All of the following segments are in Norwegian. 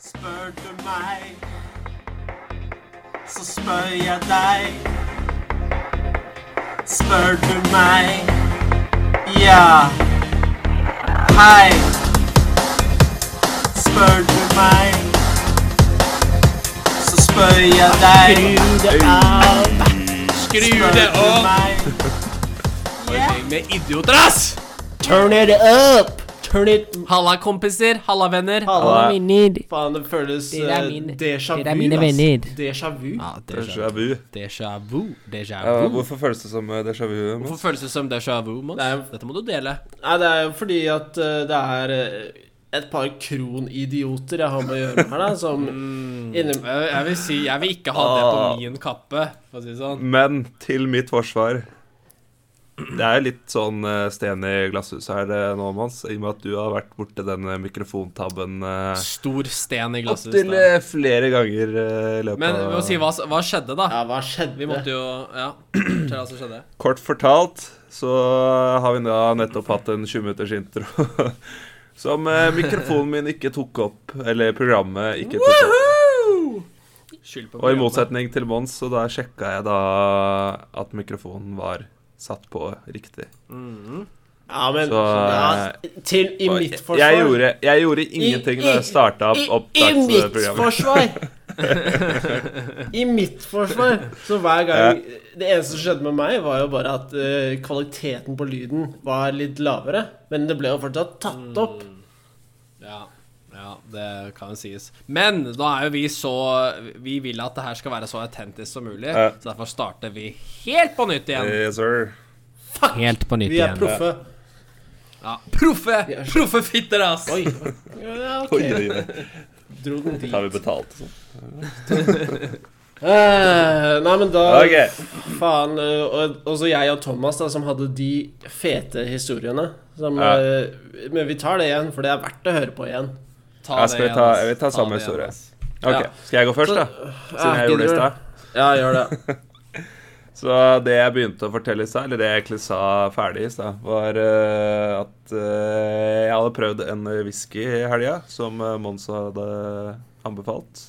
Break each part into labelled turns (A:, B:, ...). A: Spør du meg, så spør jeg deg. Spør du meg, ja. Hei. Spør du meg, så spør jeg deg.
B: Skru
A: Spør
B: det
A: du
B: opp!
A: meg,
B: Gjeng med idioter, ass!
C: Turn it up! Turn it
D: Halla, kompiser. Halla, venner.
C: Halla.
D: minner.
C: Faen, det føles
D: Dere er
C: eh,
D: mine-
C: déjà vu.
D: dere er mine
C: ass.
D: venner.
C: Déjà vu.
D: Ja, Ah, déjà,
E: Déjà vu.
D: déjà vu. Déjà
E: Ja,
D: vu.
E: hvorfor føles det som eh, déjà vu? Mats?
D: Hvorfor føles det som déjà vu, Mons?
C: Nei.
D: Dette må du dele.
C: Nei, det er jo fordi at eh, det er eh, et par kronidioter jeg har med å gjøre her, da, som
D: Mm.
C: innem...
D: Jeg, jeg vil si jeg vil ikke ha det på min kappe, for å si det sånn.
E: Men til mitt forsvar Det er jo litt sånn eh, sten i glasshuset her eh, nå, Mons, i og med at du har vært borti denne mikrofontabben eh,
D: Stor sten i glasset.
E: opptil eh, flere ganger eh, i løpet
D: Men
E: av
D: ved å si hva, hva skjedde, da?
C: Ja, hva skjedde?
D: Vi måtte jo Ja, fortell hva som skjedde.
E: Kort fortalt så har vi da nettopp hatt en 20 minutters intro som eh, mikrofonen min ikke tok opp, eller programmet ikke tok opp.
D: Skyld
E: Og
D: på
E: i
D: programmet.
E: motsetning til Mons, så da sjekka jeg da at mikrofonen var satt på riktig.
C: Ja, men
E: Så,
C: ja, til i
E: Og
C: mitt
E: jeg-
C: forsvar
E: Jeg gjorde, jeg gjorde ingenting da jeg starta
C: I-
E: opp
C: I mitt
E: opptaksprogrammet.
C: forsvar! I mitt forsvar. Så hver gang Det eneste som skjedde med meg, var jo bare at eh, kvaliteten på lyden var litt lavere. Men det ble jo fortsatt tatt
D: Mm.
C: opp.
D: Ja, ja, det kan jo sies. Men da er jo vi så Vi vil at det her skal være så autentisk som mulig,
E: Ja. Eh,
D: så derfor starter vi helt på nytt igjen.
E: Yes, sir.
D: Helt på nytt
C: Vi er proffe.
D: Ja. Proffe!
C: Vi er så-
D: Proffe fitter, ass!
C: Oi. Ja,
E: Oi,
C: ok.
E: oi, oi.
C: Dro den dit.
E: Har vi betalt? og sånn?
C: Eh, nei, men da
E: Ok.
C: Faen. eh, Og, og så jeg og Thomas, da, som hadde de fete historiene. Som,
E: Ja.
C: eh, men vi tar det igjen, for det er verdt å høre på igjen.
D: Ta
E: Ja, skal vi
D: igjen,
E: ta-
D: ass.
E: vi tar samme
D: det igjen,
E: historie.
D: ass.
E: Ok,
C: Ja.
E: Skal jeg gå først, da? Siden jeg gjorde det i stad.
C: Ja, gjør det.
E: Så det jeg begynte å fortelle i stad, eller det jeg egentlig sa ferdig i stad, var eh, at eh, jeg hadde prøvd en whisky i helga, som eh, Mons hadde anbefalt.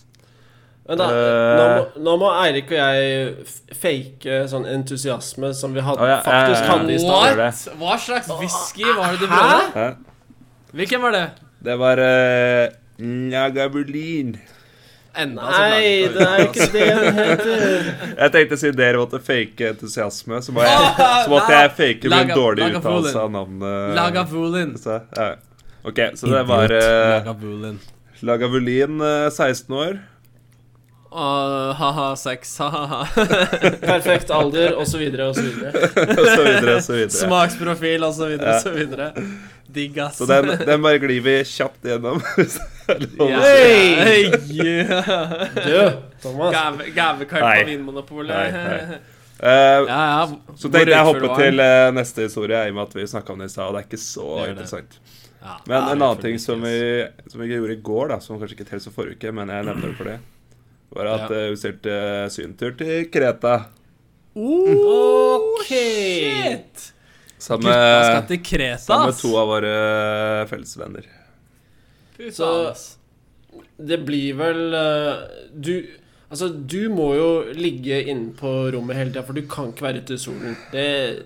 C: Men da, nå,
E: Eh.
C: må, nå må Eirik og jeg f- fake sånn entusiasme som vi hadde,
E: Å, ja, ja, ja,
C: faktisk
E: ja.
C: hadde i stad.
E: starter
D: What? Hva slags whisky var det du
C: Hæ?
D: prøvde?
E: Hæ?
D: Hvilken var det?
E: Det var uh, Nagabulin.
D: Enda altså, så
C: Nei,
D: langt
C: det
D: ut.
C: er ikke det den heter.
E: Jeg tenkte siden dere måtte fake entusiasme, så, må jeg, så måtte jeg fake min
D: Ah, Laga-
E: dårlige
D: Lagavulin.
E: uttalelse av navnet.
D: Lagavulin.
E: Så, ja. Ok, så det var eh,
D: Lagavulin.
E: Lagavulin, eh, 16 år.
D: Åh, ha-ha, sex, ha-ha.
C: Perfekt alder, og så videre, og så videre.
E: Og så videre, og så videre.
D: Smaksprofil, og så videre, og så videre. Digg, ass.
E: Så den, den bare glir vi kjapt gjennom. hvis det er lov å si.
D: Hey!
C: Du, Thomas.
D: Gave, gavekort
E: Nei.
D: på Vinmonopolet.
E: Nei, nei. Eh,
D: Ja, ja.
E: så
D: Hvor
E: tenkte jeg å
D: utfor
E: hoppe
D: du var.
E: til eh, neste historie, i og med at vi snakka om det i stad, og det er ikke så
D: Det er det.
E: interessant.
D: Ja,
E: eh, Men
D: ja,
E: en
D: det er
E: annen
D: for
E: ting
D: mye
E: som
D: stress.
E: vi, som vi ikke gjorde i går, da, som kanskje ikke telles for forrige uke, men jeg nevner det for det, var at
D: Ja.
E: eh, vi stilte sydentur til Kreta.
D: Oh,
C: Ok.
D: shit!
E: Sammen
D: Gutta skal
E: med,
D: til Kreta,
E: sammen med
D: ass.
E: to av våre fellesvenner.
D: Fy faen,
C: Så-
D: ass.
C: Det blir vel eh, Du Altså, du må jo ligge inne på rommet hele tida, for du kan ikke være ute i solen. Det,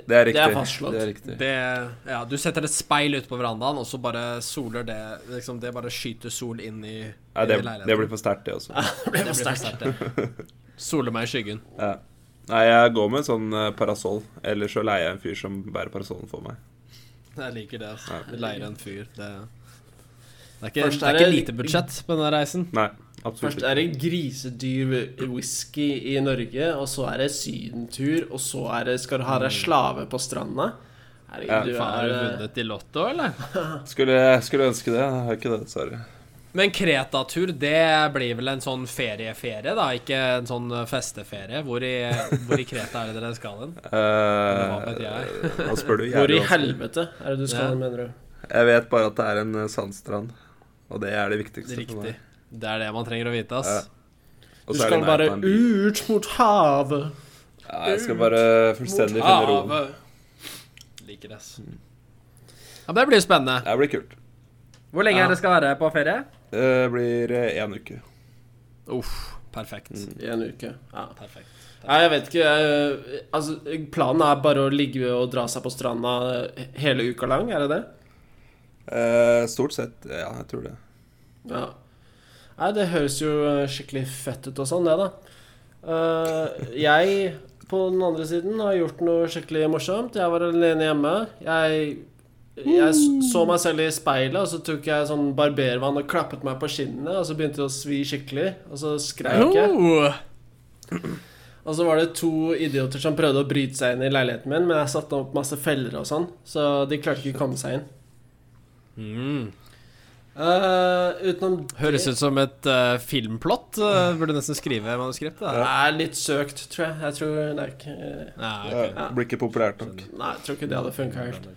E: Det er riktig.
C: Det er fastslått.
E: Det er riktig.
D: Det, ja, du setter et speil ute på verandaen, og så bare soler det liksom, Det bare skyter sol inn i,
E: Nei, det,
D: i leiligheten.
E: det blir for sterkt, det også.
D: Det blir for sterkt, det. Soler meg i skyggen.
E: Ja. Nei, jeg går med en sånn eh, parasoll. Eller så leier jeg en fyr som bærer parasollen for meg.
D: Jeg liker det. ass.
E: Ja.
D: Vi leier en fyr. Det, det er ikke,
C: Først
D: det
C: er
D: er ikke
C: det-
D: lite budsjett på denne reisen.
E: Nei, absolutt
C: Først
E: ikke.
C: er det grisedyr whisky i Norge, og så er det sydentur, og så er det skal du ha deg slave på stranda.
E: Ja,
C: Herregud, du
D: Mm. Faen, har du
C: er eh,
D: vunnet i Lotto, eller?
E: Skulle, skulle ønske det. Jeg har ikke det, Eh, dessverre.
D: Men Kreta-tur, det blir vel en sånn ferieferie, da? Ikke en sånn festeferie? Hvor i, hvor i Kreta er det dere skal hen?
E: Eh,
D: vet jeg?
E: Nå spør du jævlig
C: Hvor eh, i
E: vanskelig.
C: helvete er det du skal,
D: Ja.
C: mener du?
E: Jeg vet bare at det er en eh, sandstrand. Og det er det viktigste for
D: Riktig.
E: meg.
D: Det er det man trenger å vite, ass.
E: Og
C: Du
E: så er det
C: skal
E: i
C: bare
E: nærheten av en by.
C: ut mot havet.
E: Ja, jeg skal bare fullstendig finne roen.
D: Havet. Ah,
E: Mm.
D: Liker det, ass. Ja, men Det blir jo spennende.
E: Det blir kult.
D: Hvor lenge
C: Ja.
D: er det skal være på ferie?
E: eh, blir én uke.
D: Uff. Perfekt.
E: Mm.
C: i en uke. Ja.
D: Perfekt.
C: Nei, jeg vet ikke. Jeg, altså, planen er bare å ligge og dra seg på stranda hele uka lang, er det det?
E: Eh, stort sett, ja, jeg tror det.
C: Ja. Nei, det høres jo eh, skikkelig fett ut og sånn, det, da. Eh, jeg, på den andre siden, har gjort noe skikkelig morsomt. Jeg var alene hjemme. Jeg, jeg s- så meg selv i speilet, og så tok jeg sånn barbervann og klappet meg på kinnene, og så begynte det å svi skikkelig, og så skreik jeg.
D: Oh,
C: Og så var det to idioter som prøvde å bryte seg inn i leiligheten min, men jeg satte opp masse feller og sånn, så de klarte ikke å komme seg inn.
D: Mm.
C: Eh, utenom
D: høres ut som et eh, filmplott. eh, burde nesten skrive manuskript.
C: Det
D: Da.
C: er litt søkt, tror jeg. Jeg tror det er ikke eh,
D: Ja, ok.
E: Ja, det blir ikke populært nok.
C: Nei, jeg tror ikke det hadde funka helt.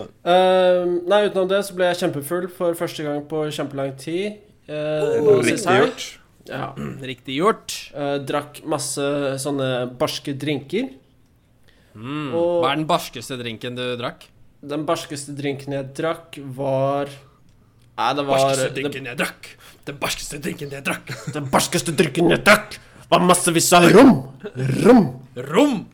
E: Nei.
C: Eh, nei, utenom det så ble jeg kjempefull for første gang på kjempelang tid. eh, nå sist
E: Riktig
C: helg.
E: gjort.
C: Ja.
D: Riktig gjort.
C: Eh, drakk masse sånne barske drinker. Og
D: Mm. Hva er den barskeste drinken du drakk?
C: den barskeste drinken jeg drakk, var Nei, det var det-
D: jeg drakk! Den barskeste drinken jeg drakk!
C: Den barskeste drinken jeg drakk, var massevis av rom! Rom!
D: Rom!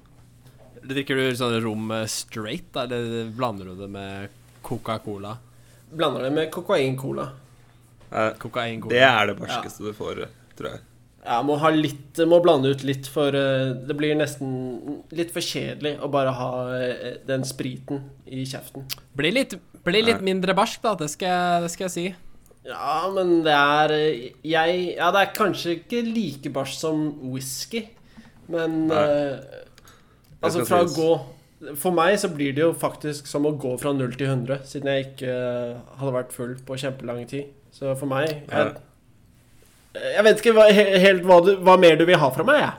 D: Drikker du sånn rom eh, straight, da, eller blander du det med Coca-Cola?
C: Blander det med kokaincola.
E: Eh, det
D: Kokain-cola.
E: er det barskeste du får, tror jeg.
C: Jeg må, ha litt, må blande ut litt, for eh, det blir nesten litt for kjedelig å bare ha eh, den spriten i kjeften.
D: Blir litt, blir litt mindre barsk, da. Det skal, jeg- det skal jeg si.
C: Ja, men det er eh, Jeg Ja, det er kanskje ikke like barsk som whisky, men
E: Nei.
C: eh, Altså,
E: Det
C: fra
E: skal
C: å
E: sies.
C: gå For meg så blir det jo faktisk som å gå fra 0 til 100, siden jeg ikke eh, hadde vært full på kjempelang tid. Så for meg Jeg, eh, jeg vet ikke hva, he- helt hva, du, hva mer du vil ha fra meg, jeg.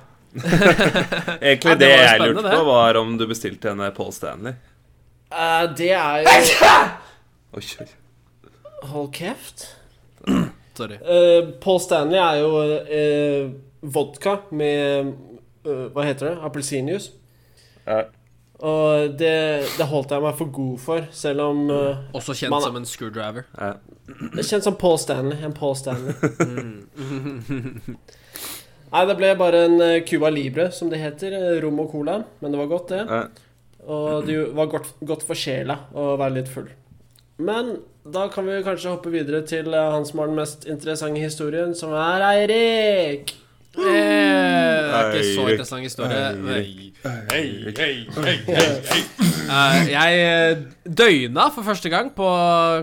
E: Egentlig
D: Ja, det
E: det,
D: var jo
E: jeg
D: spennende,
E: lurte
D: det.
E: på, var om du bestilte en eh, Paul Stanley.
C: Eh, det er jo
E: Oi, oi.
C: Hold kjeft.
D: Sorry.
C: Eh, Paul Stanley er jo eh, vodka med eh, Hva heter det? Appelsinjuice.
E: Ja.
C: Og det, det holdt jeg meg for god for, selv om eh,
D: Også kjent
C: Man-
D: som en screwdriver.
E: Eh,
C: Det kjennes som Paul Stanley. En Paul Stanley.
E: Mm.
C: Nei, det ble bare en eh, Cuba Libre, som det heter. eh, Rom og cola. Men det var godt, det.
E: eh,
C: Og det jo- var godt, godt for sjela å være litt full. Men da kan vi kanskje hoppe videre til eh, han som har den mest interessante historien, som er Eirik.
D: Eh, det er ikke så
E: Eirik.
D: interessant historie.
E: Eirik.
B: Hei, hei, hei, hei, hei.
D: Eh, jeg eh, døgna for første gang på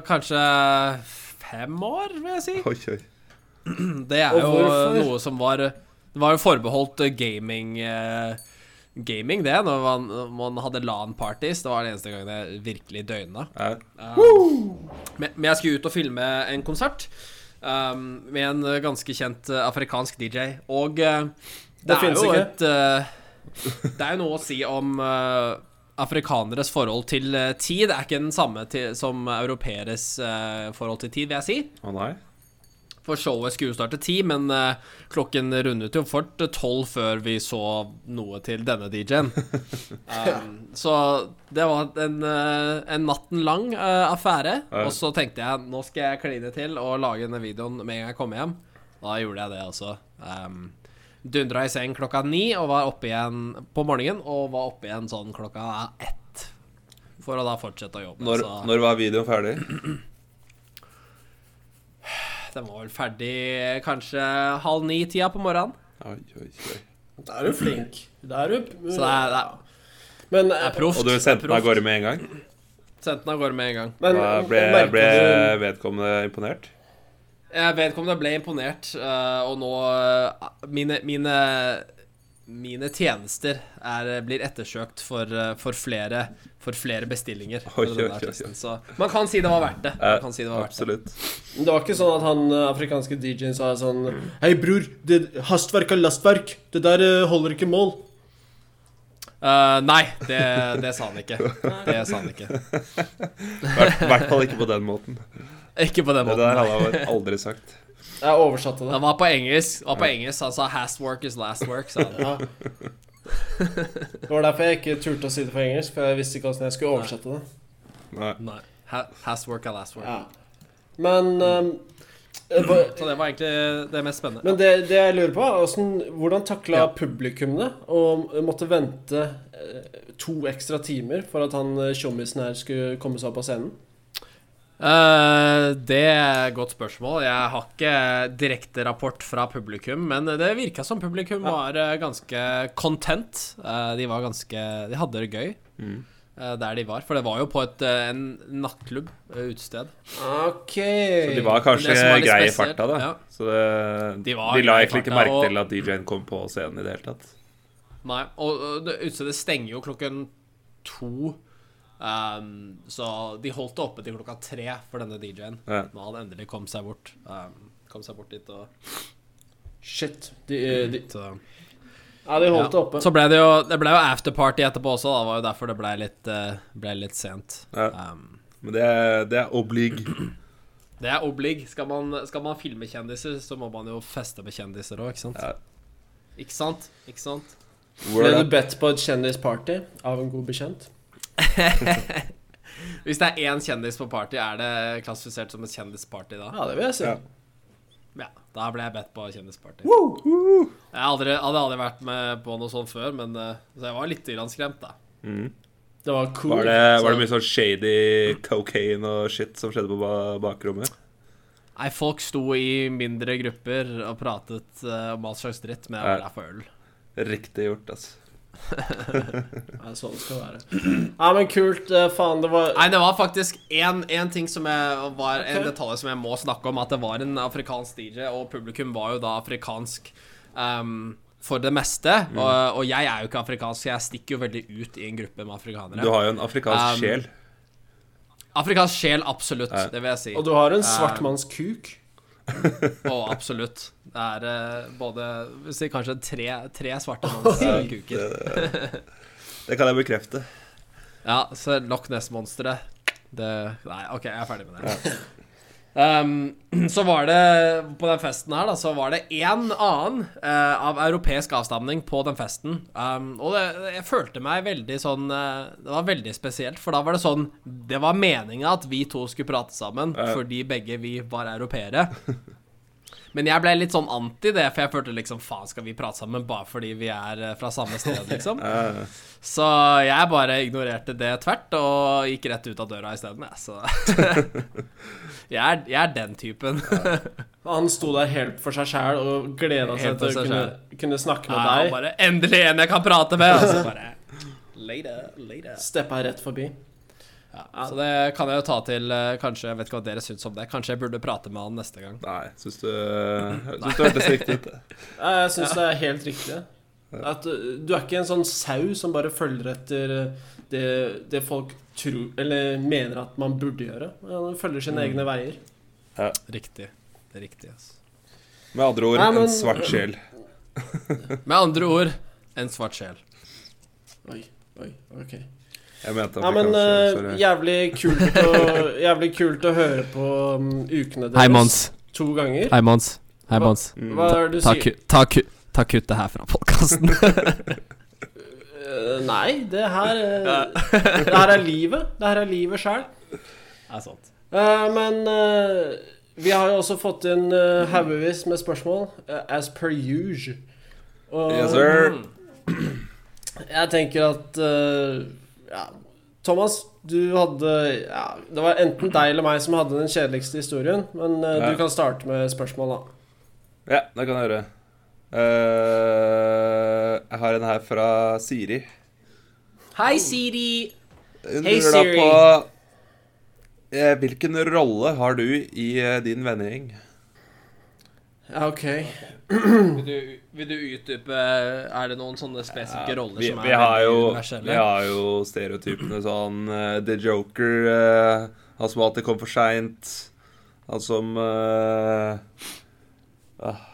D: kanskje fem år, vil jeg si.
E: oi, oi.
D: Det er
C: Og
D: jo
C: hvorfor?
D: noe som var Det var jo forbeholdt eh, gaming eh, Gaming det, når man, når man hadde LAN-parties. Det var den eneste gangen jeg virkelig døgna.
E: Eh,
D: Men, men jeg skulle ut og filme en konsert um, med en eh, ganske kjent eh, afrikansk DJ. Og eh, det,
C: Det
D: er
C: finnes
D: jo
C: ikke.
D: et eh, Det er jo noe å si om eh, afrikaneres forhold til eh, tid. Er ikke den samme til, som europeeres eh, forhold til tid, vil jeg si.
E: Å nei?
D: For showet skulle jo starte ti, men eh, klokken rundet jo fort eh, tolv før vi så noe til denne DJ-en. Um, så det var en, eh, en natten lang eh, affære.
E: Ja.
D: Og så tenkte jeg nå skal jeg kline til og lage denne videoen med en gang jeg kommer hjem. Da gjorde jeg det, altså. Um, Dundra i seng klokka ni og var oppe igjen på morgenen. Og var oppe igjen sånn klokka ett. For å da fortsette å jobbe.
E: Når,
D: så.
E: når var videoen ferdig?
D: Den var vel ferdig kanskje halv ni-tida på morgenen.
E: Oi, oi, oi.
C: Da er du flink. Da er du
D: Så det er, det er
C: Men,
D: Det
C: eh,
D: er proft.
E: Og du sendte meg av gårde med en gang?
D: Sendte den av gårde med en gang.
C: men
E: Da ble,
C: merker
E: ble
C: du-
E: vedkommende imponert?
D: Jeg vedkommende ble imponert, eh, og nå eh, mine, mine, mine tjenester er, eh, blir ettersøkt for, eh, for, flere, for flere bestillinger.
E: Oi,
D: med
E: oi,
D: denne
E: oi, oi.
D: artisten. Så man kan si det var verdt det.
E: Eh,
D: Man kan si det var verdt det.
E: absolutt.
C: Men Det var ikke sånn at han eh, afrikanske DJ-en sa sånn Hei, bror. Det, hastverk er lastverk. Det der eh, holder ikke mål.
D: Eh, nei, det, det sa han ikke. Det sa han ikke.
E: I hvert, hvert fall ikke på den måten.
D: Ikke på den
E: Det
D: måten.
E: der hadde han aldri sagt.
C: Jeg oversatte det.
D: Han var på engelsk. Var på engelsk Han sa 'hast work is last work', sa han.
C: Ja. Det var derfor jeg ikke turte å si det på engelsk, for jeg visste ikke hvordan jeg skulle oversette det.
E: Nei.
D: Nei. Ha- Has work er last work.
C: Ja. Men eh, Eh, hva-
D: Så det var egentlig det mest spennende.
C: Men det, det jeg lurer på, er hvordan, hvordan takla publikum det? Og måtte vente eh, to ekstra timer for at han eh, tjommisen her skulle komme seg opp av scenen?
D: Eh, det er et godt spørsmål. Jeg har ikke direkterapport fra publikum, men det virka som publikum var eh, ganske content. Eh, de var ganske De hadde det gøy eh, der de var. For det var jo på et, eh, en nattklubb, eh, utested.
C: OK
E: Så de var kanskje
D: Men det som var litt
E: greie i
D: spesielt,
E: farta, da.
D: ja.
E: Så det,
D: De
E: de,
D: var
E: la
D: greie i
E: egentlig ikke
D: farta,
E: merke
D: og-
E: til at DJ-en kom på scenen i det hele tatt.
D: Nei, og, og det- utestedet stenger jo klokken to. ehm, så de holdt det oppe til klokka tre for denne DJ-en.
E: Ja.
D: Når han endelig kom seg bort. ehm, kom seg bort dit og
C: Shit. De, eh, de,
D: så.
C: ja, de holdt det
D: Ja.
C: oppe.
D: Så ble det jo Det ble jo afterparty etterpå også, da. Det var jo derfor det ble litt, eh, ble litt sent.
E: Ja.
D: Um,
E: Men det, er- det er oblig.
D: det er oblig. Skal man, skal man filme kjendiser, så må man jo feste med kjendiser òg, ikke sant?
E: Ja.
D: Ikke sant? Ikke sant?
E: Word
C: Ble du
E: up.
C: bedt på et kjendisparty av en god bekjent?
D: Hvis det er én kjendis på party, er det klassifisert som et kjendisparty da?
C: Ja, det vil jeg si.
E: Ja.
D: Ja, da ble jeg bedt på kjendisparty. Jeg har aldri, hadde aldri vært med på noe sånt før, men eh, så jeg var litt grann skremt, da.
C: Det var cool.
E: Var det, var
C: altså.
E: det mye sånn shady cocaine og shit som skjedde på ba bakrommet?
D: Nei, folk sto i mindre grupper og pratet eh, om all slags dritt, men jeg
E: Ja.
D: var der for øl.
E: Riktig gjort, altså.
C: Ja, sånn det skal være. Ja, men kult. eh, Faen, det var
D: Nei, det var faktisk en, en ting som jeg var En
C: Ok.
D: detalj som jeg må snakke om, at det var en afrikansk DJ, og publikum var jo da afrikansk ehm, for det meste.
E: Mm.
D: Og, og jeg er jo ikke afrikansk, så jeg stikker jo veldig ut i en gruppe med
E: Du
D: afrikanere.
E: har jo en afrikansk
D: Um,
E: sjel.
D: Afrikansk sjel, absolutt.
E: Ja.
D: Det vil jeg si.
C: Og du har en svartmannskuk.
D: Og absolutt. Det er eh, både vil si, kanskje tre, tre svarte manns kuker.
E: Det kan jeg bekrefte.
D: Ja, så Loch Ness-monsteret det, Nei, OK, jeg er ferdig med det. Um, så var det På den festen her, da, så var det én annen eh, av europeisk avstamning på den festen. Um, og det, jeg følte meg veldig sånn eh, Det var veldig spesielt, for da var det sånn Det var meninga at vi to skulle prate sammen, fordi begge vi var europeere. Men jeg ble litt sånn anti det, for jeg følte liksom Faen, skal vi prate sammen bare fordi vi er eh, fra samme sted, liksom? Så jeg bare ignorerte det tvert og gikk rett ut av døra isteden, jeg. Så jeg, er, jeg er den typen.
C: Han sto der helt for seg sjæl og gleda seg
D: Helt for
C: til å
D: seg
C: kunne, kunne snakke med deg.
D: bare Endelig en jeg kan prate med! altså. Og så bare Later, later.
C: Steppa rett forbi.
D: Ja, så det kan jeg jo ta til eh, Kanskje jeg vet ikke hva dere syns om det. Kanskje jeg burde prate med han neste gang.
E: Nei, syns du, syns du hørtes riktig ut?
C: Ja, Jeg syns det er helt riktig. At uh, Du er ikke en sånn sau som bare følger etter uh, det, det folk tror Eller mener at man burde gjøre. Ja, Du følger sine egne veier.
D: Riktig. Det er riktig, altså.
E: Med andre ord,
C: Nei, men-
E: en svart sjel.
D: Med andre ord en svart sjel.
C: Oi, oi, ok
E: Jeg mente
C: Ja, men
E: afrikansk sjel.
C: uh,
E: Sorry.
C: jævlig, kult å, jævlig kult å høre på um, ukene deres. To ganger.
D: Hei, Mons. Hei, Mons.
E: Mm.
C: Hva er det du sier?
D: ta, ta kuttet her fra podkasten.
C: Uh, Nei, det her uh, Det her er livet. Det her er livet sjæl.
D: er sant.
C: Eh, men eh, vi har jo også fått inn eh, haugevis med spørsmål, eh, as per usual. Og
E: Yes, sir.
C: jeg tenker at eh, ja, Thomas, du hadde ja, Det var enten deg eller meg som hadde den kjedeligste historien, men eh,
E: Ja.
C: du kan starte med spørsmål, da.
E: Ja, det kan jeg gjøre. Eh, jeg har en her fra Siri.
D: Hei, Siri.
E: Hun
D: Hei,
E: lurer da
D: Siri.
E: på eh, Hvilken rolle har du i eh, din vennegjeng?
C: Ja, ok.
D: Vil du, vil du utdype Er det noen sånne spesifikke roller
E: Vi,
D: som
E: vi,
D: er
E: har
D: veldig
E: jo, vi
D: universelle?
E: har jo stereotypene sånn eh, The Joker, eh, han som alltid kom for seint. Han som eh, ah,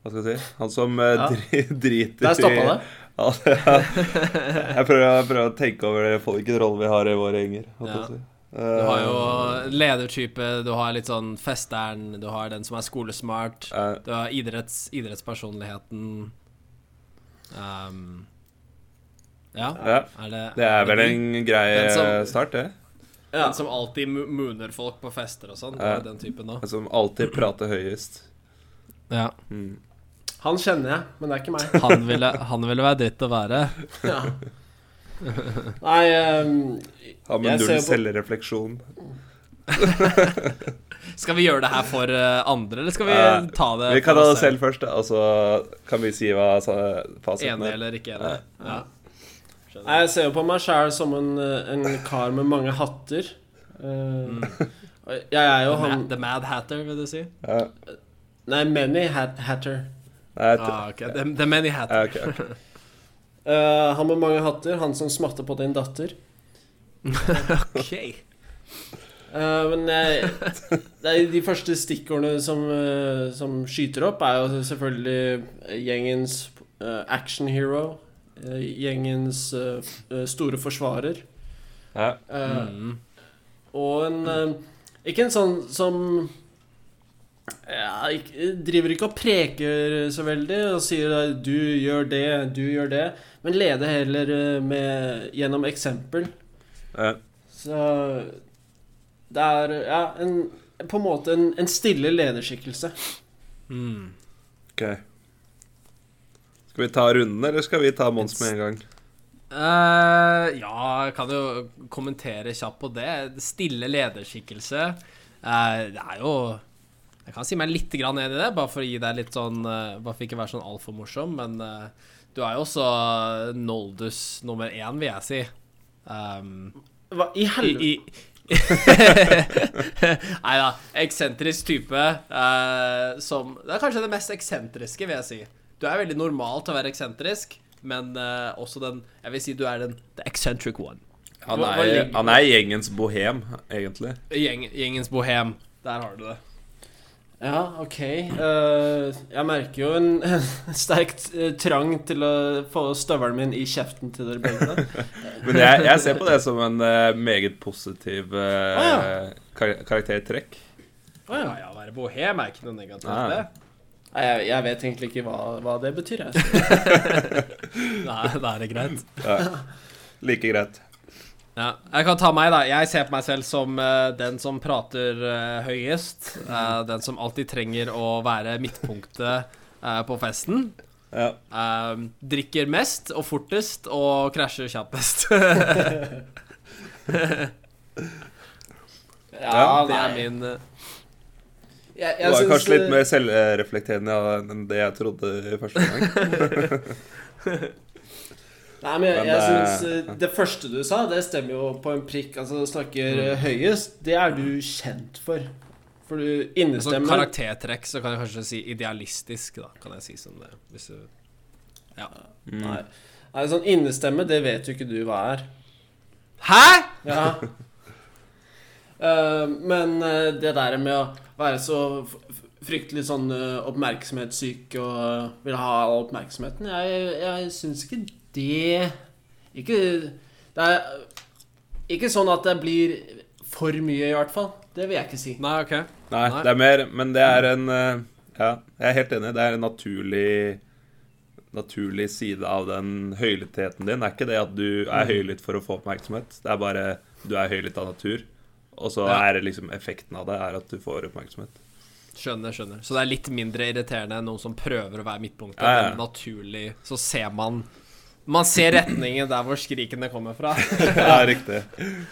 E: Hva skal jeg si? Han som eh,
C: Ja.
E: dri, driter
C: Der stoppa det.
E: Ja, det- ja. Jeg prøver, jeg prøver å tenke over folk, hvilken rolle vi har i våre gjenger. holdt jeg
D: Ja.
E: på å si.
D: Du har jo
E: Eh,
D: ledertype, du har litt sånn festeren, du har den som er skolesmart,
E: Ja.
D: du har idretts, idrettspersonligheten Ehm, Ja,
E: ja.
D: er det
E: Det er vel
D: de?
E: en
D: Den
E: grei
D: som-
E: start, det.
C: Ja.
D: Den som alltid mo- mooner folk på fester og sånn. Det
E: Ja.
D: er Den typen òg.
E: Som Altså, alltid prater høyest.
D: Ja.
C: Han kjenner jeg, men det er ikke meg.
D: Han ville, han ville være dritt å være.
C: Ja. Nei ehm,
E: Har med
C: Jeg
E: null
C: ser på-
E: selvrefleksjon.
D: Skal vi gjøre det her for eh, andre, eller skal vi
E: Eh,
D: ta det
E: Vi kan
D: for
E: ta
D: oss
E: det selv først, da, og så kan vi si hva sa- fasiten
D: Enig
E: er.
D: eller ikke enig? Ja.
C: Nei, Jeg ser jo på meg sjæl som en, eh, en kar med mange hatter. Eh, Jeg er jo
D: The,
C: han
D: Ma- the Mad Hatter, vil du si?
E: Ja.
C: Nei, many hat hatter.
E: Nei, t-
D: Ah, ok. the, the Many
E: ja,
D: Hatter.
E: ok, ok.
C: Eh, han med mange hatter, han som smatter på din datter.
D: Ok.
C: Eh, men jeg, det er de første stikkordene som, eh, som skyter opp, er jo selvfølgelig gjengens eh, action hero, eh, gjengens eh, eh, store forsvarer,
E: Ja.
C: eh,
D: Mm.
C: og en eh, Ikke en sånn som ja, ikke, driver ikke og preker så veldig og sier eh, 'du gjør det', 'du gjør det', men leder heller eh, med, gjennom eksempel.
E: Ja.
C: Så det er ja, en, på en måte en, en stille lederskikkelse.
D: Mm.
E: Ok. Skal vi ta runden, eller skal vi ta Mons med en gang?
D: Eh, ja, jeg kan jo kommentere kjapt på det. Stille lederskikkelse. Eh, det er jo Jeg kan si meg litt grann enig i det, bare for å gi deg litt sånn eh, Bare for ikke å være sånn altfor morsom, men eh, du er jo også Noldus nummer én, vil jeg si. Um,
C: Hva i helvete?
D: i, i Nei da. Eksentrisk type eh, som Det er kanskje det mest eksentriske, vil jeg si. Du er veldig normal til å være eksentrisk, men eh, også den Jeg vil si du er den the eccentric one.
E: Han
C: Hva- hva
E: er,
C: ligger-
E: han er gjengens bohem, egentlig.
D: Gjeng, gjengens bohem. Der har du det.
C: Ja, OK. Eh, jeg merker jo en sterkt eh, trang til å få støvelen min i kjeften til dere begge. da.
E: Men jeg, jeg ser på det som en eh, meget positiv eh,
C: Ah,
E: kar karaktertrekk.
D: Å ja, Ah. ja, være bohem er ikke noe negativt.
E: Nei.
D: Det.
C: Nei, jeg, jeg vet egentlig ikke hva, hva det betyr. Jeg.
D: Nei, da er det greit.
E: Like greit.
D: Ja, jeg kan ta meg, da. Jeg ser på meg selv som eh, den som prater eh, høyest. eh, den som alltid trenger å være midtpunktet eh, på festen.
E: Ja.
D: Eh, drikker mest og fortest og krasjer kjappest. det
E: Ja,
D: er min eh,
C: Jeg,
E: Du
C: jeg
E: var
C: syns,
E: kanskje litt
C: eh,
E: mer selvreflekterende enn det jeg trodde i første gang.
C: Nei, men jeg,
E: Men
C: jeg
E: det-
C: syns eh, det første du sa, det stemmer jo på en prikk. Altså, du snakker
E: Mm.
C: eh, høyest. Det er du kjent for. For
E: Altså,
C: du
D: Som
C: innestemmer.
D: sånn karaktertrekk så kan jeg kanskje si idealistisk, da, kan jeg si som det. Hvis du ja. Mm.
C: Nei. Nei, sånn innestemme, det vet jo ikke du hva er.
D: Hæ?!
C: Ja. Eh, men eh, det der med å være så f- f- fryktelig sånn eh, oppmerksomhetssyk og eh, vil ha all oppmerksomheten, jeg, jeg syns ikke det Ikke Det er ikke sånn at det blir for mye, i hvert fall. Det vil jeg ikke si.
D: Nei, OK.
E: Nei,
D: Nei.
E: det er mer Men det er en eh, Ja, jeg er helt enig. Det er en naturlig Naturlig side av den høylyttheten din. Det er ikke det at du er
D: Mm.
E: høylytt for å få oppmerksomhet. Det er bare du er høylytt av natur. Og så
D: Ja.
E: er det liksom effekten av det er at du får oppmerksomhet.
D: Skjønner, skjønner. Så det er litt mindre irriterende enn noen som prøver å være midtpunktet,
E: Ja, ja.
D: men naturlig så ser man Man ser retningen der hvor skrikene kommer fra.
E: ja, riktig.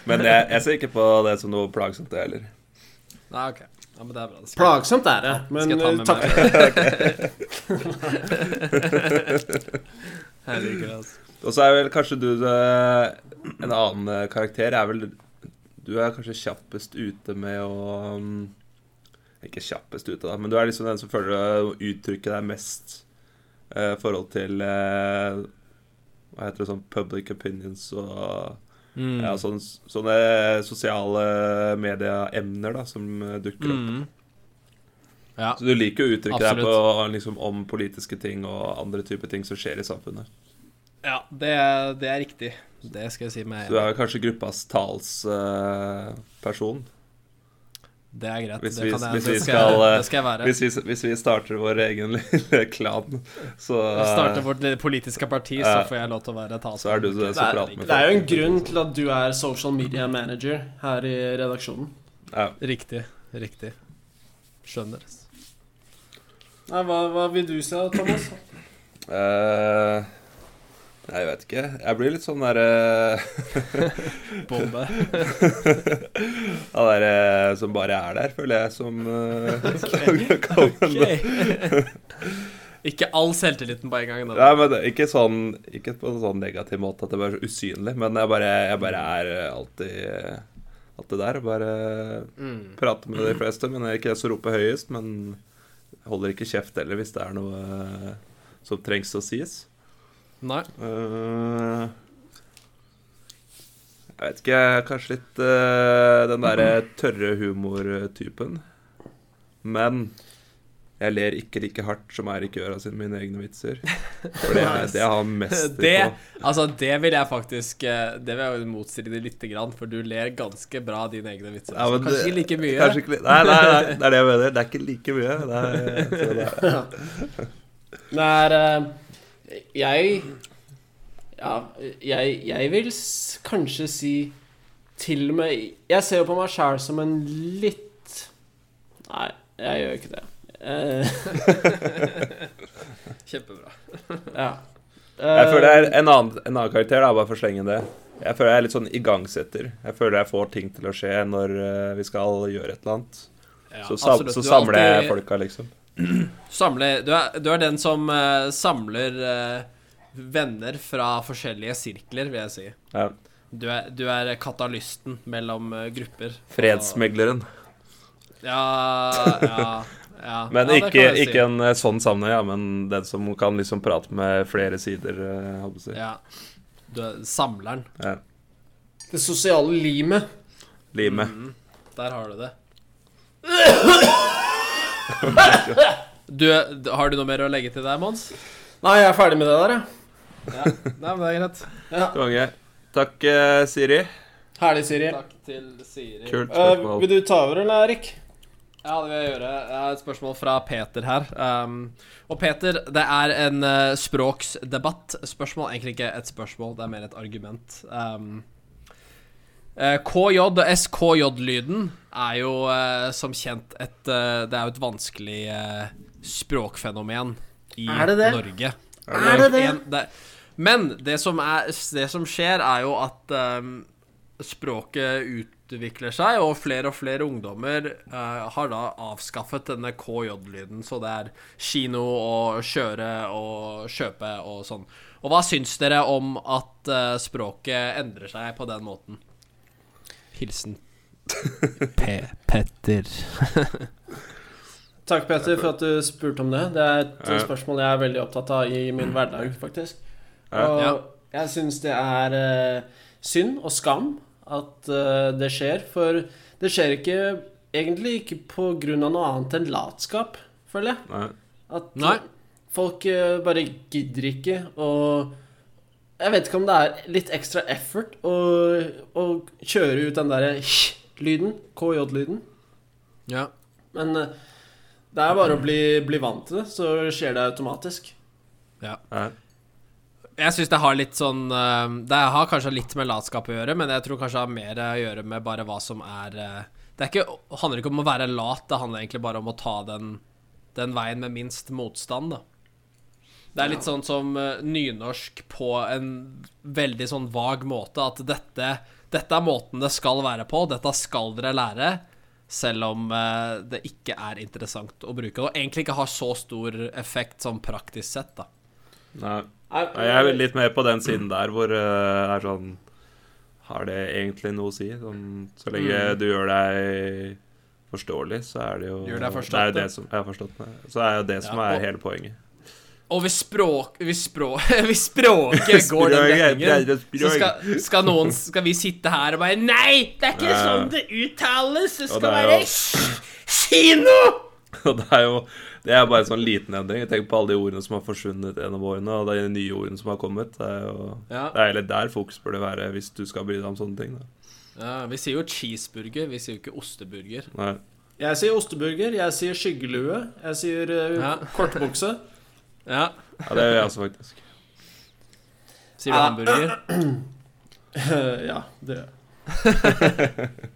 E: Men jeg, jeg ser ikke på det som noe plagsomt, det heller.
D: Nei, OK. Ja, men det er bra. Det skal,
C: Plagsomt er det, men
D: skal jeg ta med
C: eh, takk.
D: meg. Herregud, altså.
E: Og så er vel kanskje du eh, En annen eh, karakter er vel Du er kanskje kjappest ute med å mm, Ikke kjappest ute, da, men du er liksom den som føler å uttrykke deg mest eh, i forhold til eh, Hva heter det sånn Public opinions og
D: Mm.
E: ja, sånne, sånne sosiale medieemner da, som eh, dukker opp.
D: Mm. Ja.
E: Så du liker jo å uttrykke deg på,
D: Absolutt.
E: liksom, om politiske ting og andre typer ting som skjer i samfunnet.
D: Ja, det, er- det er riktig. Det skal jeg si meg
E: Du er jo kanskje gruppas talsperson.
D: Det er greit.
E: Hvis
D: det,
E: vi,
D: kan jeg,
E: hvis,
D: det,
E: vi
D: skal,
E: skal, eh,
D: det skal jeg være.
E: hvis, vi, hvis vi starter vår egen lille klan, så,
D: Vi starter vårt lille politiske parti, så
E: Ja.
D: får jeg lov til å være talsmann.
E: eh, så er du den
C: Det
E: som
C: er,
E: prater med
C: det er jo en grunn til at du er social media manager her i redaksjonen.
E: Ja.
D: Riktig. Riktig. Skjønner. ass.
C: Nei, hva, hva vil du si, Thomas?
E: Eh, jeg vet ikke. Jeg blir litt sånn derre
D: Bombe.
E: Han derre som bare er der, føler jeg, som uh, kan
D: Ikke all selvtilliten på en gang. Da.
E: Nei, men det- ikke, sånn, ikke på en sånn negativ måte at det bare er så usynlig, men jeg bare, jeg bare er eh, alltid, eh, alltid der. og Bare
D: Mm.
E: prater med de fleste, men jeg er ikke jeg som roper høyest. Men holder ikke kjeft heller hvis det er noe eh, som trengs å sies.
D: Nei.
E: Eh, jeg vet ikke, jeg er kanskje litt eh, den derre tørre humortypen. Men jeg ler ikke like hardt som Eirik gjør av sine mine egne vitser. For det er det jeg har mest til
D: Det,
E: på.
D: altså, det vil jeg faktisk eh, Det vil jeg jo motstille deg lite grann, for du ler ganske bra av dine egne vitser.
E: Ja, men
D: kanskje
E: det-
D: ikke like mye.
E: Kanskje ikke li- Nei, nei, nei, det er det jeg mener. Det er ikke like mye. Det er, så det er.
C: Det er eh, Jeg Ja, jeg, jeg vil s kanskje si til og med Jeg ser jo på meg sjæl som en litt Nei, jeg gjør ikke det. Eh,
D: Kjempebra.
C: ja.
E: Jeg
C: Eh,
E: føler jeg er en annen, en annen karakter, da, bare for å slenge det. Jeg føler jeg er litt sånn igangsetter. Jeg føler jeg får ting til å skje når eh, vi skal gjøre et eller annet.
D: Ja,
E: Så, sam,
D: absolutt.
E: så
D: Du er
E: samler jeg
D: alltid-
E: folka, liksom.
D: Samle, du, er, du er den som eh, samler eh, venner fra forskjellige sirkler, vil jeg si.
E: Ja.
D: Du er, du er katalysten mellom eh, grupper.
E: Fredsmegleren.
D: Og- Ja, ja, ja.
E: Men
D: ja, det
E: ikke,
D: kan jeg si.
E: ikke en eh, sånn sammenheng, ja, men den som kan liksom prate med flere sider. eh, holdt på å si.
D: Ja. Du er samleren.
E: Ja.
C: Det sosiale limet.
E: Limet.
D: Mm. Der har du det. Du, d- har du noe mer å legge til der, Mons?
C: Nei, jeg er ferdig med det der, jeg.
D: Ja. Nei, men det er greit.
E: Konge. Takk, eh, Siri.
C: Herlig, Siri.
D: Takk til Siri.
E: Kult
C: Eh,
E: spørsmål.
C: vil du ta over, eller, Erik?
D: Ja, det vil jeg gjøre. Jeg har et spørsmål fra Peter her. Um, og Peter, det er en eh, språksdebatt. Spørsmål egentlig ikke et spørsmål, det er mer et argument. Um, eh, KJ og SKJ-lyden er jo eh, som kjent et eh, Det er jo et vanskelig eh, språkfenomen i
C: Er det det?
D: Norge.
C: Er det det?
D: En, det men det som, er, det som skjer, er jo at ehm, språket utvikler seg, og flere og flere ungdommer eh, har da avskaffet denne KJ-lyden. Så det er kino og kjøre og kjøpe og sånn. Og hva syns dere om at eh, språket endrer seg på den måten? Hilsen P Petter.
C: Takk, Peter, for at du spurte om det. Det er et
E: Ja.
C: spørsmål jeg er veldig opptatt av i min hverdag, faktisk.
E: Ja.
C: Og
D: Ja.
C: jeg syns det er eh, synd og skam at eh, det skjer, for det skjer ikke egentlig ikke på grunn av noe annet enn latskap, føler jeg.
E: Nei.
C: At
D: Nei.
C: folk eh, bare gidder ikke å Jeg vet ikke om det er litt ekstra effort å, å kjøre ut den derre lyden, KJ-lyden.
D: Ja.
C: Men eh, det er bare å bli, bli vant til det, så skjer det automatisk.
E: Nei.
D: Jeg syns det har litt sånn eh, Det har kanskje litt med latskap å gjøre, men jeg tror kanskje det har mer å gjøre med bare hva som er eh, Det er ikke, handler ikke om å være lat, det handler egentlig bare om å ta den, den veien med minst motstand, da. Det er litt sånn som eh, nynorsk på en veldig sånn vag måte, at dette, dette er måten det skal være på, dette skal dere lære, selv om eh, det ikke er interessant å bruke, og egentlig ikke har så stor effekt sånn praktisk sett, da.
E: Nei. Nei, Jeg er vel litt mer på den siden der hvor eh, det er sånn Har det egentlig noe å si? Sånn, så lenge
D: Mm.
E: du gjør deg forståelig, så er det jo
D: Gjør deg forstått,
E: det er jo
D: ja.
E: det som, jeg har forstått det. Så er jo det som
D: Ja, og-
E: er hele poenget.
D: Og hvis språk... Hvis, språk, hvis språket går den
E: Språket, det er
D: retningen,
E: det
D: så
E: språket.
D: skal, skal noen Skal vi sitte her og bare Nei! Det er ikke
E: Ja.
D: sånn det uttales! Det skal
E: det er
D: være
E: jo-
D: s- kino!
E: Og det er jo Det er bare en sånn liten endring. Tenk på alle de ordene som har forsvunnet gjennom årene, og de nye ordene som har kommet. Det er jo
D: Ja.
E: Det er heller der fokus burde være hvis du skal bry deg om sånne ting. Da.
D: Ja, vi sier jo cheeseburger, vi sier jo ikke osteburger.
E: Nei.
C: Jeg sier osteburger, jeg sier skyggelue, jeg sier eh,
D: Ja.
C: kortbukse.
D: Ja.
E: Ja, det gjør jeg også, faktisk.
D: Sier du hamburger?
C: Eh, ja, det gjør jeg.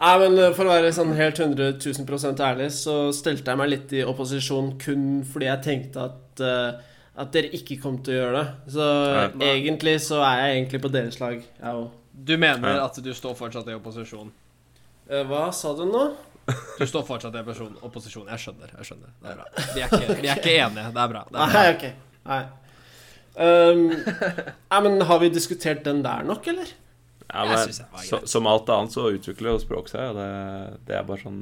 C: Nei, men eh, for å være sånn helt 100 000 ærlig, så stelte jeg meg litt i opposisjon kun fordi jeg tenkte at eh, at dere ikke kom til å gjøre det. Så
E: Nei.
C: egentlig så er jeg egentlig på deres lag, jeg òg.
D: Du mener
E: Ja.
D: at du står fortsatt i opposisjon?
C: Eh, Hva sa du nå?
D: Du står fortsatt i opposisjon. opposisjon. Jeg skjønner. jeg skjønner Det er bra. Vi er ikke, vi er ikke enige. Det er bra. Det er bra.
C: Nei, ok. Nei. Um, nei, men har vi diskutert den der nok, eller?
E: Ja,
D: Jeg
E: men
D: synes det var
E: så, som alt annet så utvikler jo språk seg, og det, det er bare sånn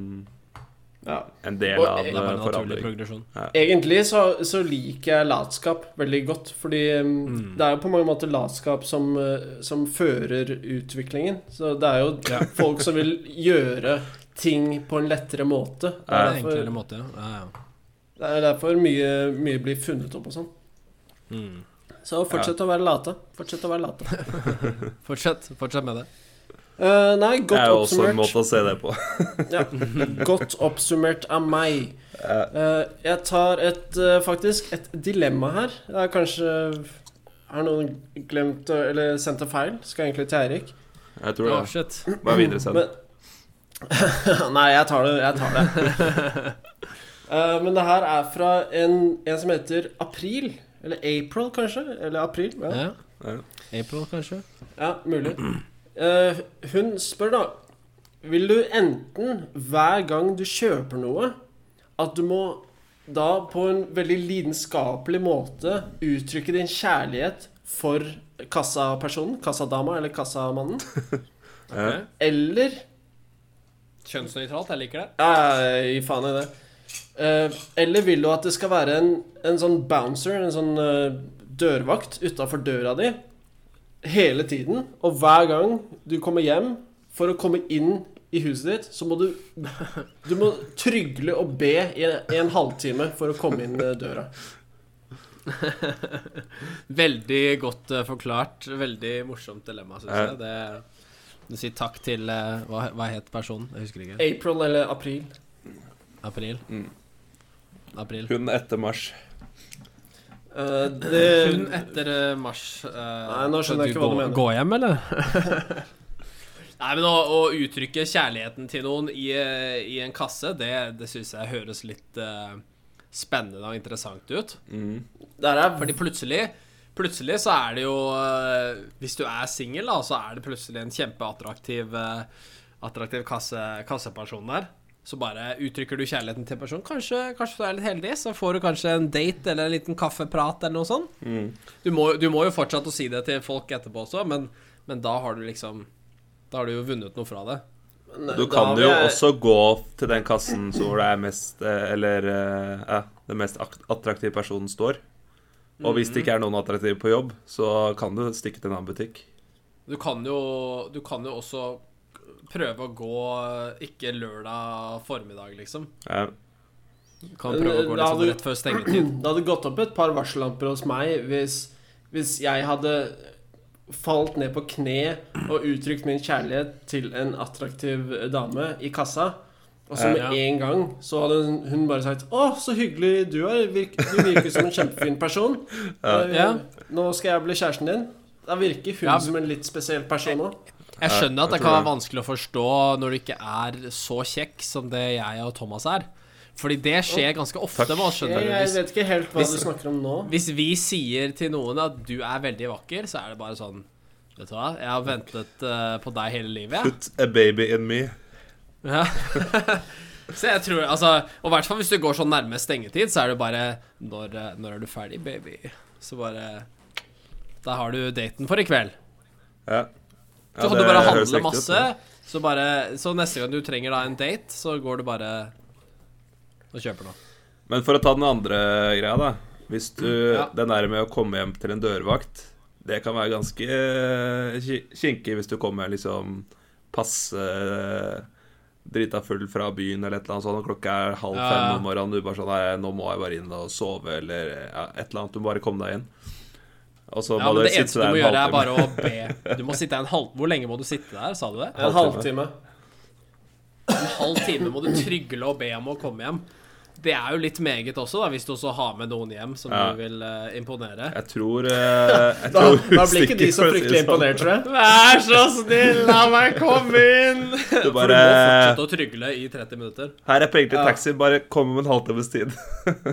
C: Ja.
E: en del
C: Og-
E: av eh,
C: Det
D: Det er bare en naturlig
E: forandring.
D: progresjon.
C: Egentlig så, så liker jeg latskap veldig godt, fordi um,
E: Mm.
C: det er jo på mange måter latskap som, uh, som fører utviklingen. Så det er jo folk som vil gjøre ting på en lettere måte.
D: Det er en
C: derfor,
D: enklere måte, ja. ja, ja.
C: det er derfor mye, mye blir funnet opp og sånn.
D: Mm.
C: Så fortsett å være late. Fortsett å være late.
D: Fortsett, fortsett med det.
C: Uh,
E: Det
C: nei,
E: er
C: godt
E: jo også en
C: oppsummert.
E: måte å se det på.
C: Ja. Godt oppsummert av meg. Eh, jeg tar et, eh, faktisk et dilemma her. Det er kanskje Har noen glemt å- eller sendt en feil? Skal egentlig til Eirik.
E: Jeg tror
D: Oh,
E: det.
D: shit.
E: Bare videre send.
C: Men Nei, jeg tar det. Jeg tar det. Eh, men det her er fra en, en som heter April. Eller April, kanskje? Eller April. Ja.
D: Ja.
E: Ja.
D: April, kanskje?
C: Ja, mulig. Eh, hun spør da Vil du enten hver gang du kjøper noe, at du må da på en veldig lidenskapelig måte uttrykke din kjærlighet for kassapersonen, kassadama eller kassamannen,
E: Ja.
C: eller
D: Kjønnsnøytralt. Jeg liker det.
C: Ja, ja, gi faen i det. Eh, eller vil du at det skal være en, en sånn bouncer, en sånn eh, dørvakt utafor døra di hele tiden? Og hver gang du kommer hjem, for å komme inn i huset ditt, så må du Du må trygle og be i en, i en halvtime for å komme inn eh, døra.
D: Veldig godt eh, forklart. Veldig morsomt dilemma, syns jeg. Det, du sier takk til eh, Hva, hva het personen? Jeg husker ikke.
C: April eller april?
D: April?
E: Mm.
D: April.
E: Hun etter mars.
C: Eh,
D: Hun
C: det
D: etter eh, mars eh,
C: Nei, nå skjønner jeg
D: du
C: ikke hva du
D: gå-
C: mener.
D: Gå hjem, eller? Nei, men å, å uttrykke kjærligheten til noen i, eh, i en kasse, det, det syns jeg høres litt eh, spennende og interessant ut.
E: Mm.
C: der er
D: Fordi plutselig Plutselig så er det jo eh, Hvis du er singel, da, så er det plutselig en kjempeattraktiv eh, Attraktiv kasse, kasseperson der. Så bare uttrykker du kjærligheten til en person. Kanskje, kanskje du er litt heldig, så får du kanskje en date eller en liten kaffeprat eller noe sånt. Du, må, du må jo fortsatt å si det til folk etterpå også, men, men da har du liksom Da har du jo vunnet noe fra det.
E: Du
C: da
E: kan
C: vil
E: jo
C: jeg-
E: også gå til den kassen så hvor det er mest eh, Eller eh, ja, den mest ak- attraktive personen står. Og hvis det ikke er noen attraktive på jobb, så kan du stikke til en annen butikk.
D: Du kan jo, du kan jo også prøve å gå eh, ikke lørdag formiddag, liksom.
E: Ja.
D: Du kan prøve å gå litt
C: Da
D: sånn
C: du-
D: rett før stengetid.
C: Det hadde gått opp et par varsellamper hos meg hvis, hvis jeg hadde falt ned på kne og uttrykt min kjærlighet til en attraktiv dame i kassa. Og så med
D: Ja.
C: en gang så hadde hun, hun bare sagt 'Å, så hyggelig du er. Virk, du virker som en kjempefin person. Eh,
D: Ja.
C: Nå skal jeg bli kjæresten din.' Da virker hun
D: Ja.
C: som en litt spesiell person òg.
D: Jeg skjønner
E: jeg
D: at
E: tror
D: det kan være
E: det.
D: vanskelig å forstå når du ikke er så kjekk som det jeg og Thomas er. Fordi det skjer ganske ofte med oss, skjønner
C: Jeg,
D: du.
C: jeg
D: Hvis,
C: vet ikke helt hva
D: Hvis-
C: du snakker om nå.
D: hvis vi sier til noen at du er veldig vakker, så er det bare sånn Vet du hva, jeg har ventet eh, på deg hele livet, jeg.
E: Put a baby in me.
D: Ja. så jeg tror Altså, og i hvert fall hvis du går sånn nærme stengetid, så er det bare når, eh, når er du ferdig, baby? Så bare Da har du daten for i kveld.
E: Ja. Ja,
D: Så kan du
E: det
D: bare
E: høres
D: handle
E: riktig ut,
D: masse.
E: det.
D: Så, bare, så neste gang du trenger da en date, så går du bare og kjøper noe.
E: Men for å ta den andre greia, da. Hvis du
D: Ja.
E: Den der med å komme hjem til en dørvakt, det kan være ganske eh, ki- kinkig hvis du kommer liksom passe eh, drita full fra byen eller et eller annet sånt, og klokka er halv
D: Ja,
E: fem
D: ja.
E: om morgenen, du bare sånn Nei, nå må jeg bare inn og sove, eller ja, et eller annet. Du må bare komme deg inn. Og så
D: Ja,
E: må
D: men
E: du
D: det
E: sitte
D: eneste du
E: der
D: må
E: en
D: gjøre, er
E: halvtime.
D: bare å be. Du må sitte en halv... Hvor lenge må du sitte der, sa du det?
C: En
E: halvtime.
C: halvtime.
D: halv time må du trygle og be om å komme hjem. Det er jo litt meget også, da, hvis du også har med noen hjem som
E: Ja.
D: du vil eh, imponere.
E: Jeg tror, eh, jeg
C: Da,
E: tror
C: da blir ikke de så
E: for å si det
C: fryktelig
E: sånn.
C: imponert, tror jeg.
D: Vær så snill, la meg komme inn!
E: Du
D: For du
E: bare
D: må fortsette å trygle i 30 minutter.
E: Her er penger til taxi, bare kom om en halvtimes tid.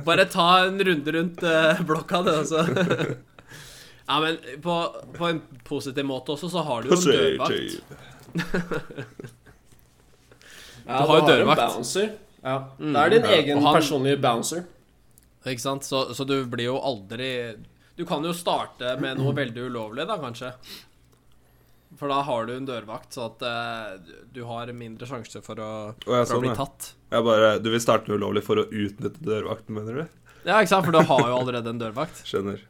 D: Bare ta en runde rundt eh, blokka, det, altså. Ja, men på, på en positiv måte også, så har du jo en dørvakt.
C: Ja,
D: Du har jo
C: da en
D: dørvakt.
C: bouncer. Mm. Ja. Da er det en egen
D: Og han-
C: personlig bouncer.
D: Ikke sant? Så, så du blir jo aldri Du kan jo starte med noe veldig ulovlig, da, kanskje. For da har du en dørvakt, så at eh, du har mindre sjanse for å,
E: Å, ja,
D: for å
E: sånn,
D: bli
E: ja.
D: tatt.
E: Jeg bare, Du vil starte noe ulovlig for å utnytte dørvakten, mener du?
D: Ja, ikke sant? For du har jo allerede en dørvakt.
E: Skjønner.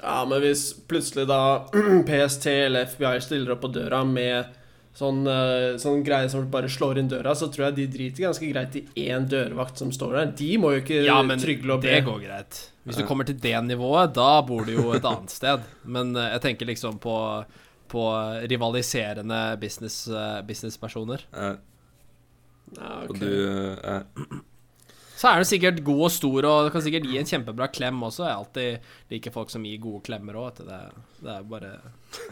C: Ja, men hvis plutselig da PST eller FBI stiller opp på døra med sånn, eh, sånn greie som bare slår inn døra, så tror jeg de driter ganske greit i én dørvakt som står der. De må jo ikke
D: Ja, men
C: trygle og be.
D: det går greit. Hvis du kommer til det nivået, da bor du jo et annet sted. Men eh, jeg tenker liksom på, på rivaliserende business, eh, businesspersoner.
E: Eh,
C: Ja, ok.
E: og du eh,
D: Så er du sikkert god og stor og kan sikkert gi en kjempebra klem også. Jeg alltid liker folk som gir gode klemmer òg. Det, det er bare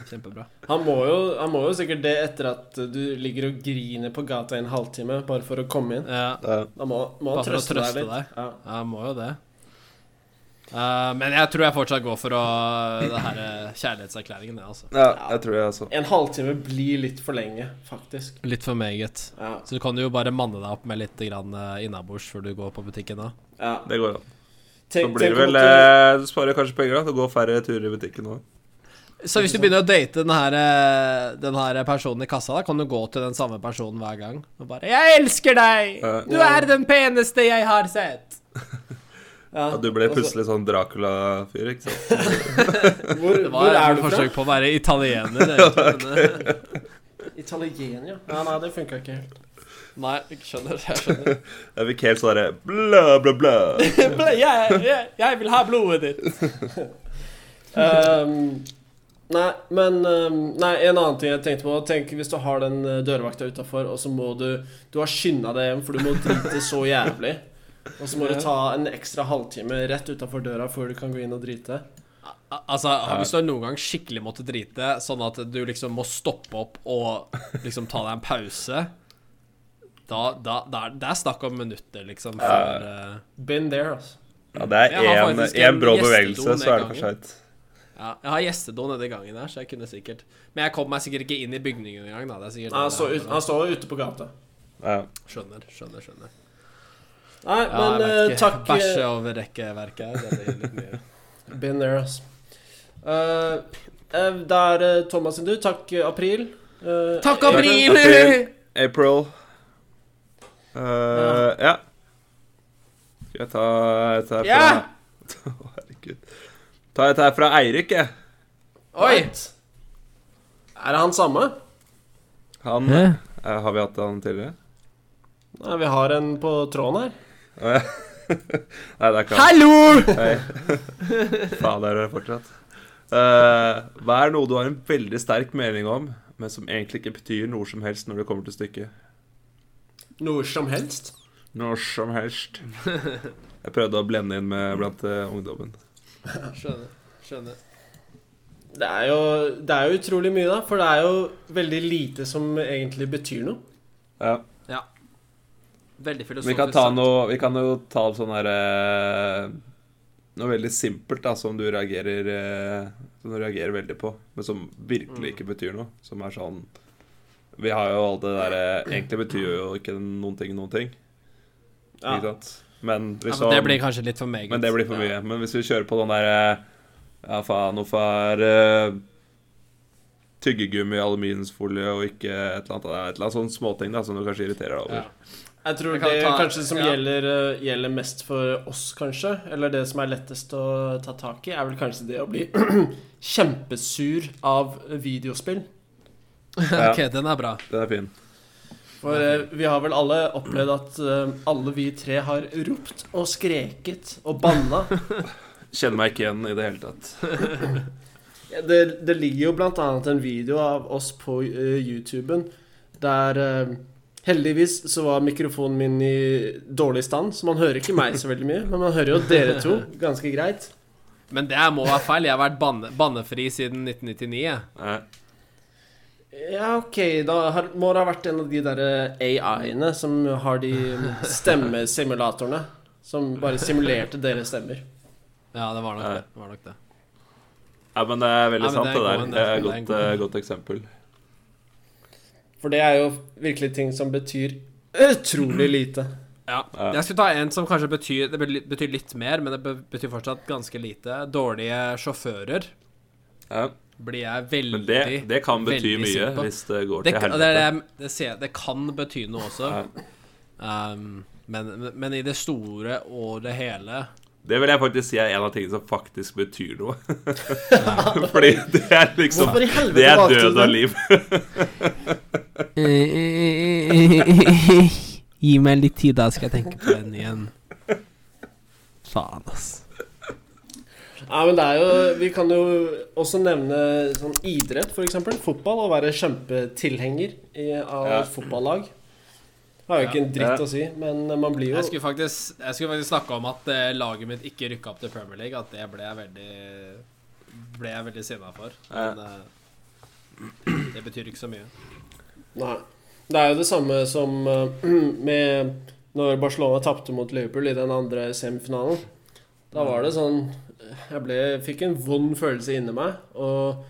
D: kjempebra.
C: han, må jo, han må jo sikkert det etter at du ligger og griner på gata i en halvtime bare for å komme inn.
D: Ja,
E: eh,
C: Da må, må
D: Bare for
C: han
D: å
C: trøste,
D: trøste
C: deg litt.
D: deg.
C: Ja.
D: jeg må jo det. Eh, men jeg tror jeg fortsatt går for å, det her eh, kjærlighetserklæringen, jeg, altså.
E: Ja, jeg tror jeg også.
C: En halvtime blir litt for lenge, faktisk.
D: Litt for meget.
C: Ja.
D: Så du kan jo bare manne deg opp med litt grann eh, innabords før du går på butikken da.
C: ja.
E: Det går an. Så
C: Tenk-
E: blir
C: tenk
E: det
C: om
E: vel
C: at
E: eh, Du sparer kanskje penger, da. Du går færre turer i butikken nå.
D: Så hvis du begynner å date den her, eh, den her personen i kassa, da, kan du gå til den samme personen hver gang og bare 'Jeg elsker deg!
E: Ja.
D: Du er den peneste jeg har sett!'
C: ja.
E: Ja, du ble
C: og så-
E: plutselig sånn Dracula-fyr, ikke sant?
C: Hvor,
D: Det
C: hvor
D: var
C: er
D: et
C: du fra?
D: forsøk på å være italiener. egentlig, men, eh,
C: Italiener, ja. Nei, det funka ikke helt.
D: Nei, jeg skjønner. Jeg skjønner.
E: Jeg fikk helt sånn derre bla, bla, bla.
D: jeg, jeg, jeg vil ha blodet ditt.
C: Ehm, nei, men ehm, Nei, en annen ting jeg tenkte på. Tenk hvis du har den eh, dørvakta utafor, og så må du Du har skynda deg hjem, for du må drite så jævlig. Og så må du ta en ekstra halvtime rett utafor døra før du kan gå inn og drite.
D: Al- Altså, Hvis du noen gang skikkelig måtte drite, sånn at du liksom må stoppe opp og liksom ta deg en pause da, da, da, er- Det er snakk om minutter, liksom. Før, eh,
C: Been there, altså.
E: Ja, det
D: Jeg har
E: er
D: faktisk
E: én
D: en
E: brå
D: gjestedo
E: bevegelse,
D: med
E: så er det for
D: gangen.
E: seint.
D: Ja, jeg har gjestedo nede i gangen her, så jeg kunne sikkert Men jeg kom meg sikkert ikke inn i bygningen engang. da, det er sikkert
C: Nei, Han,
D: det
C: står
D: det
C: ut, han står jo ute på gata.
E: Ja.
D: er. Skjønner, skjønner. skjønner
C: Nei,
D: Ja,
C: men
D: jeg vet
C: eh,
D: ikke.
C: takk eh,
D: Bæsje over rekkeverket her. Det blir litt mye.
C: Been there, altså. Eh, eh, det er eh, Thomas sin tur. Takk, eh, April. Eh,
D: Takk,
C: eh,
D: April!
E: April. April. Eh, ja. Skal jeg ta et her fra
D: Ja!
E: Å, Herregud. Ta et her fra Eirik, jeg.
D: Oi!
C: Er det han samme?
E: Han eh, Har vi hatt han tidligere?
C: eh, Nei, vi har en på tråden her.
E: Å, ja. Nei, det er ikke han.
D: Hallo!
E: Hei. Faen, der er det fortsatt. Eh, hva er noe du har en veldig sterk mening om, men som egentlig ikke betyr noe som helst når det kommer til stykket?
C: Noe som helst.
E: Når som helst. Jeg prøvde å blende inn med blant eh, ungdommen.
D: Skjønner. skjønner
C: Det er, jo, det er jo utrolig mye, da. For det er jo veldig lite som egentlig betyr noe.
E: Ja.
D: Veldig
E: Vi
D: filosofisk.
E: kan, ta
D: sagt.
E: noe, vi kan jo ta opp sånn her eh, Noe veldig simpelt da, som du reagerer eh, Som du reagerer veldig på, men som virkelig ikke betyr noe. Som er sånn Vi har jo alt det derre Egentlig betyr jo ikke noen ting noen ting.
C: Ja.
E: Ikke sant? Men
D: ja,
E: hvis
D: men Det
E: sånn-
D: blir kanskje litt for meget.
E: Men det blir for mye. Men hvis vi kjører på den der eh, Ja, faen, hvorfor er eh, tyggegummi aluminiumsfolie og ikke et eller annet, et eller annet sånn småting da, som du kanskje irriterer deg
D: Ja.
E: over?
C: Jeg tror
D: Jeg kan
C: det
D: ta-
C: kanskje som
D: ja.
C: gjelder, eh, gjelder mest for oss, kanskje, eller det som er lettest å ta tak i, er vel kanskje det å bli kjempesur av videospill.
E: Ja.
D: Ok, den er bra.
E: Den er fin.
C: For eh, vi har vel alle opplevd at eh, alle vi tre har ropt og skreket og banna.
E: Kjenner meg ikke igjen i det hele tatt.
C: Ja, det, det ligger jo blant annet en video av oss på uh, YouTuben der eh, Heldigvis så var mikrofonen min i dårlig stand, så man hører ikke meg så veldig mye. Men man hører jo dere to ganske greit.
D: Men det her må være feil. Jeg har vært banne, bannefri siden 1999. jeg.
E: Nei.
C: Ja, ok, da har, må det ha vært en av de der AI-ene som har de stemmesimulatorene. Som bare simulerte deres stemmer.
D: Ja, det var nok
E: Nei.
D: det. det, var nok det.
E: Ja, men det er veldig
D: Ja, men
E: sant,
D: det er
E: det,
D: en
E: der. Det er
D: god-
E: et
D: det er en
E: godt, eh, godt eksempel.
C: For det er jo virkelig ting som betyr utrolig lite.
D: Ja.
E: Ja.
D: Jeg skulle ta en som kanskje betyr, det be- betyr litt mer, men det be- betyr fortsatt ganske lite. Dårlige sjåfører
E: Ja.
D: blir jeg veldig
E: Men det, det kan bety
D: veldig
E: mye
D: sint på.
E: hvis det går
D: Det,
E: til
D: kan-
E: helvete.
D: det, er det, jeg- det, ser- det kan bety noe også. Um, men, men i det store og det hele
E: Det vil jeg faktisk si er en av tingene som faktisk betyr noe. Fordi det er liksom
C: Hvorfor i helvete
E: Det er
C: valgte du
E: død
C: den?
E: og liv.
D: Gi meg litt tid, da skal jeg tenke på den igjen. Faen, ass.
C: Ja, men det er jo, Vi kan jo også nevne sånn idrett, f.eks. Fotball. Å være kjempetilhenger i, av
E: Ja.
C: et fotballag. Har jo ikke en dritt å si, men man blir jo
D: Jeg skulle faktisk, jeg skulle faktisk snakke om at eh, laget mitt ikke rykka opp til Premier League. At det ble jeg veldig Ble jeg veldig sinna for. Men eh, det betyr ikke så mye.
C: Nei. Det er jo det samme som eh, med når Barcelona tapte mot Liverpool i den andre semifinalen. Da var det sånn Jeg ble, fikk en vond følelse inni meg. Og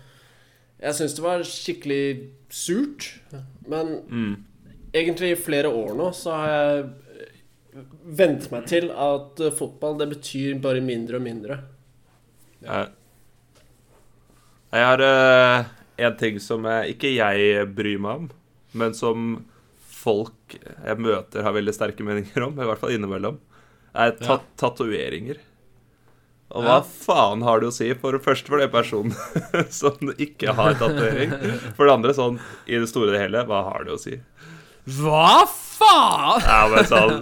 C: jeg syns det var skikkelig surt. Men
E: Mm.
C: egentlig i flere år nå så har jeg eh, vent meg til at eh, fotball det betyr bare mindre og mindre.
E: Ja. Jeg har eh, en ting som jeg, ikke jeg bryr meg om, men som folk jeg møter, har veldig sterke meninger om, i hvert fall innimellom, er ta
D: Ja.
E: tatoveringer. Og hva
D: Ja.
E: faen har det å si? For det første for den personen som ikke har tatovering. For det andre sånn i det store og det hele, hva har det å si?
D: Hva faen?!
E: Ja, men sånn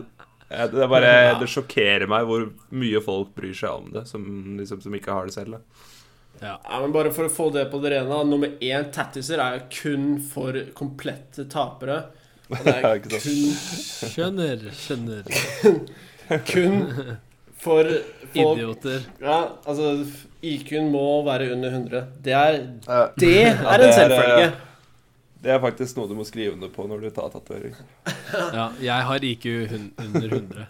E: eh, det, er bare, det sjokkerer meg hvor mye folk bryr seg om det, som, liksom, som ikke har det selv. Da.
C: Ja, men Bare for å få det på det rene, da, nummer én tattiser er jo kun for komplette tapere. Og det
E: Ja,
C: er
E: ikke sant.
C: kun
D: Skjønner, skjønner.
C: Kun for folk
D: Idioter.
C: Ja, altså IQ-en må være under 100. Det er,
E: Ja.
C: det
E: Ja,
C: er
E: det
C: en
E: er,
C: selvfølge.
E: Det er faktisk noe du må skrive under på når du tar tatovering.
D: Ja, jeg har IQ hun under 100.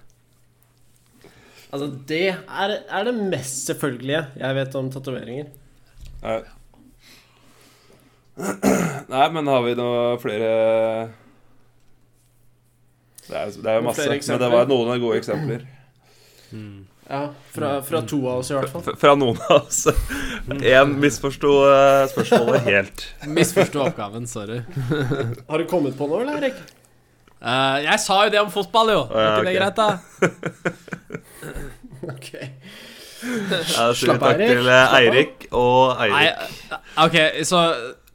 C: Altså, det er, er det mest selvfølgelige jeg vet om tatoveringer.
E: Nei. Eh. Nei, men har vi noe flere Det er, det er jo
C: Noen
E: masse,
C: flere
E: men det var noen gode eksempler.
C: Ja, fra, fra to av oss, i hvert fall.
E: F- Fra noen av oss. Én misforsto eh, spørsmålet helt.
D: Misforsto oppgaven, sorry.
C: Har du kommet på noe, eller, Erik?
D: Eh, jeg sa jo det om fotball, jo! Er
E: ja,
D: ikke det
E: ok.
D: greit, da?
C: Ok
E: Ja, da sier vi
C: Slapp av,
E: takk
C: Erik.
E: til eh, Eirik og
D: Nei,
E: Eirik.
D: eh, OK, så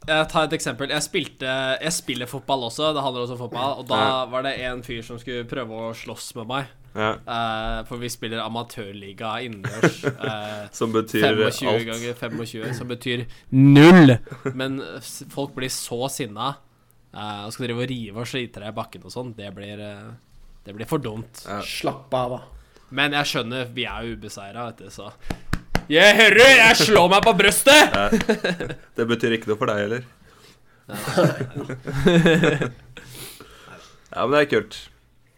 D: jeg tar et eksempel. Jeg spilte Jeg spiller fotball også. Det handler også om fotball. Og da
E: Ja.
D: var det en fyr som skulle prøve å slåss med meg.
E: Ja,
D: eh, for vi spiller amatørliga innendørs. eh,
E: som betyr
D: 25
E: alt.
D: ganger 25, som betyr null. Men eh, s- folk blir så sinna eh, og skal drive og rive og slite deg i bakken og sånn. Det blir eh, Det blir for dumt.
E: Ja.
C: Slapp av, da.
D: Men jeg skjønner, vi er jo ubeseira, vet du, så Jeg hører! Jeg slår meg på brøstet!
E: Det betyr ikke noe for deg heller. Ja, men det er kult.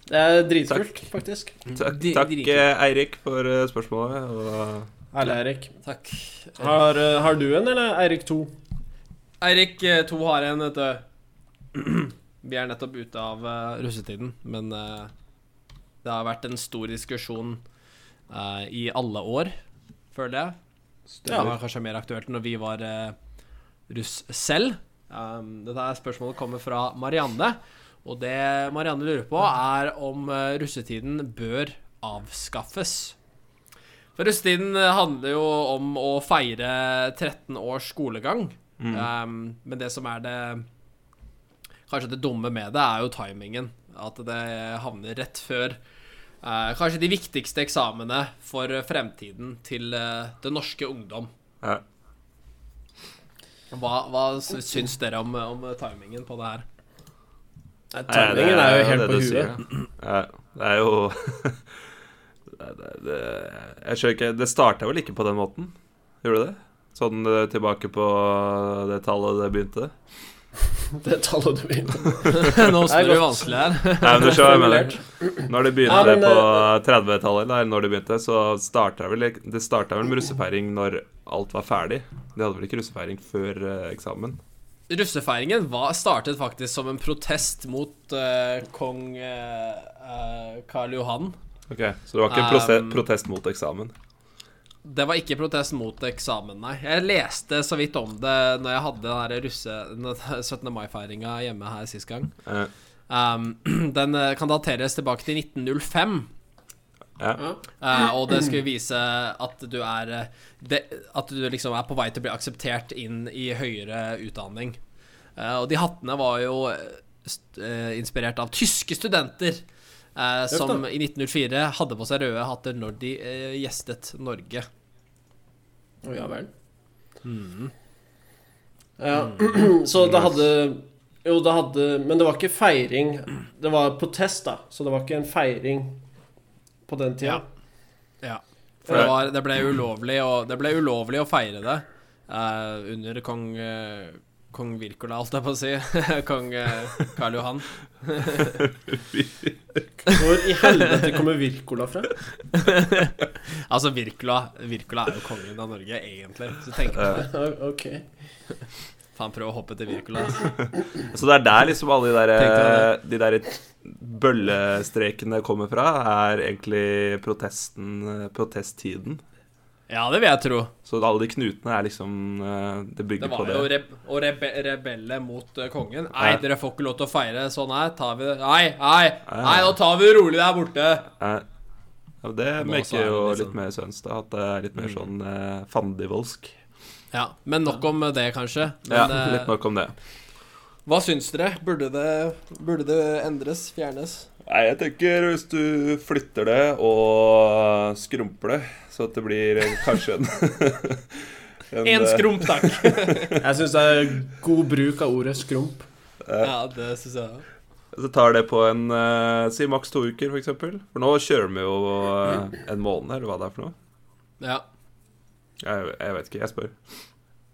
C: Det er dritkult, faktisk.
E: Takk,
D: De-
E: takk
D: driker.
E: eh, Eirik, for eh, spørsmålet. Og eh,
C: Herlig, Eirik.
D: Takk.
C: Har, eh, har du en, eller Eirik to?
D: Eirik, eh, to har en, vet du. Vi er nettopp ute av eh, russetiden, men eh, det har vært en stor diskusjon eh, i alle år, føler jeg. Det var kanskje mer aktuelt når vi var eh, russ selv. Um, dette her spørsmålet kommer fra Marianne. Og det Marianne lurer på, er om eh, russetiden bør avskaffes. For russetiden eh, handler jo om å feire 13 års skolegang. Um, men det som er det Kanskje det dumme med det, er jo timingen. At det havner rett før Eh, kanskje de viktigste eksamene for eh, fremtiden til eh, det norske ungdom.
E: Ja.
D: eh, Hva, hva s- syns dere om, om timingen på det her?
C: Nei,
E: Nei, det
C: Timingen er jo helt
E: det
C: på
E: du sier, da.
C: huet.
E: Ja, det er jo det, det, det, Jeg skjønner ikke Det starta vel ikke på den måten? Gjorde det det? Sånn eh, tilbake på eh, det tallet det begynte?
C: Det tallet du begynte med.
D: Nå
C: Det er
D: snur det
C: godt.
D: vanskelig her.
E: Nei, men du skjønner hva jeg mener. Når det
C: Ja,
E: begynte
C: men,
E: på
D: eh,
E: 30-tallet, eller når det begynte, så starta vel Det starta vel med russefeiring når alt var ferdig. De hadde vel ikke russefeiring før eh, eksamen?
D: Russefeiringen var, startet faktisk som en protest mot eh, kong eh, eh, Karl Johan.
E: Ok, Så det var ikke en prose-
D: Um,
E: protest mot eksamen?
D: Det var ikke protest mot eksamen, nei. Jeg leste så vidt om det når jeg hadde den der russe... den der 17. mai-feiringa hjemme her sist gang.
E: Eh,
D: Um, den eh, kan dateres tilbake til 1905.
E: ja.
D: Eh, og det skulle vise at du er eh, det, At du liksom er på vei til å bli akseptert inn i høyere utdanning. Eh, og de hattene var jo eh, st eh, inspirert av tyske studenter. eh, som
C: da.
D: i 1904 hadde på seg røde hatter når de eh, gjestet Norge.
C: Å, ja vel. Mm. Ja, så det hadde Jo, det hadde Men det var ikke feiring. Det var protest, da. Så det var ikke en feiring på den tida.
D: Ja. Ja. For det, var, det, ble ulovlig å, det ble ulovlig å feire det eh, under kong eh, Kong Wirkola, holdt jeg på å si. kong eh, Karl Johan.
C: Hvor i helvete kommer Wirkola fra?
D: Altså, Wirkola Wirkola er jo kongen av Norge, egentlig. Så tenk på det.
C: Ok.
D: Faen, prøv å hoppe til Wirkola. ass.
E: Så det er der liksom alle de der, eh,
D: Tenkte
E: de der bøllestrekene kommer fra, er egentlig protesten, eh, protesttiden.
D: Ja, det vil jeg tro.
E: Så alle de knutene er liksom eh, Det
D: Det
E: bygger på
D: var
E: det.
D: jo reb og rebe rebeller mot eh, kongen. Nei, dere får ikke lov til å feire sånn her. Tar vi det Nei, nei, nei, nå tar vi det rolig der borte.
E: Eh, ja, det
D: Nå så er
E: maker
D: det
E: jo
D: liksom-
E: litt mer søns, da. At det er litt mer sånn eh, fandivoldsk.
D: Ja, Men nok om det, kanskje.
E: Ja,
D: Men, eh,
E: litt nok om det.
D: Hva syns dere? Burde det, burde det endres? Fjernes?
E: Nei, jeg tenker hvis du flytter det og skrumper det, så at det blir kanskje en
D: Én skrump, takk!
C: Jeg syns det er god bruk av ordet skrump.
D: ja, det syns jeg òg.
E: Så tar det på en eh, Si maks to uker, for eksempel. For nå kjører vi jo eh, en måned, eller hva det er for noe.
D: Ja.
E: Jeg, jeg vet ikke, jeg spør.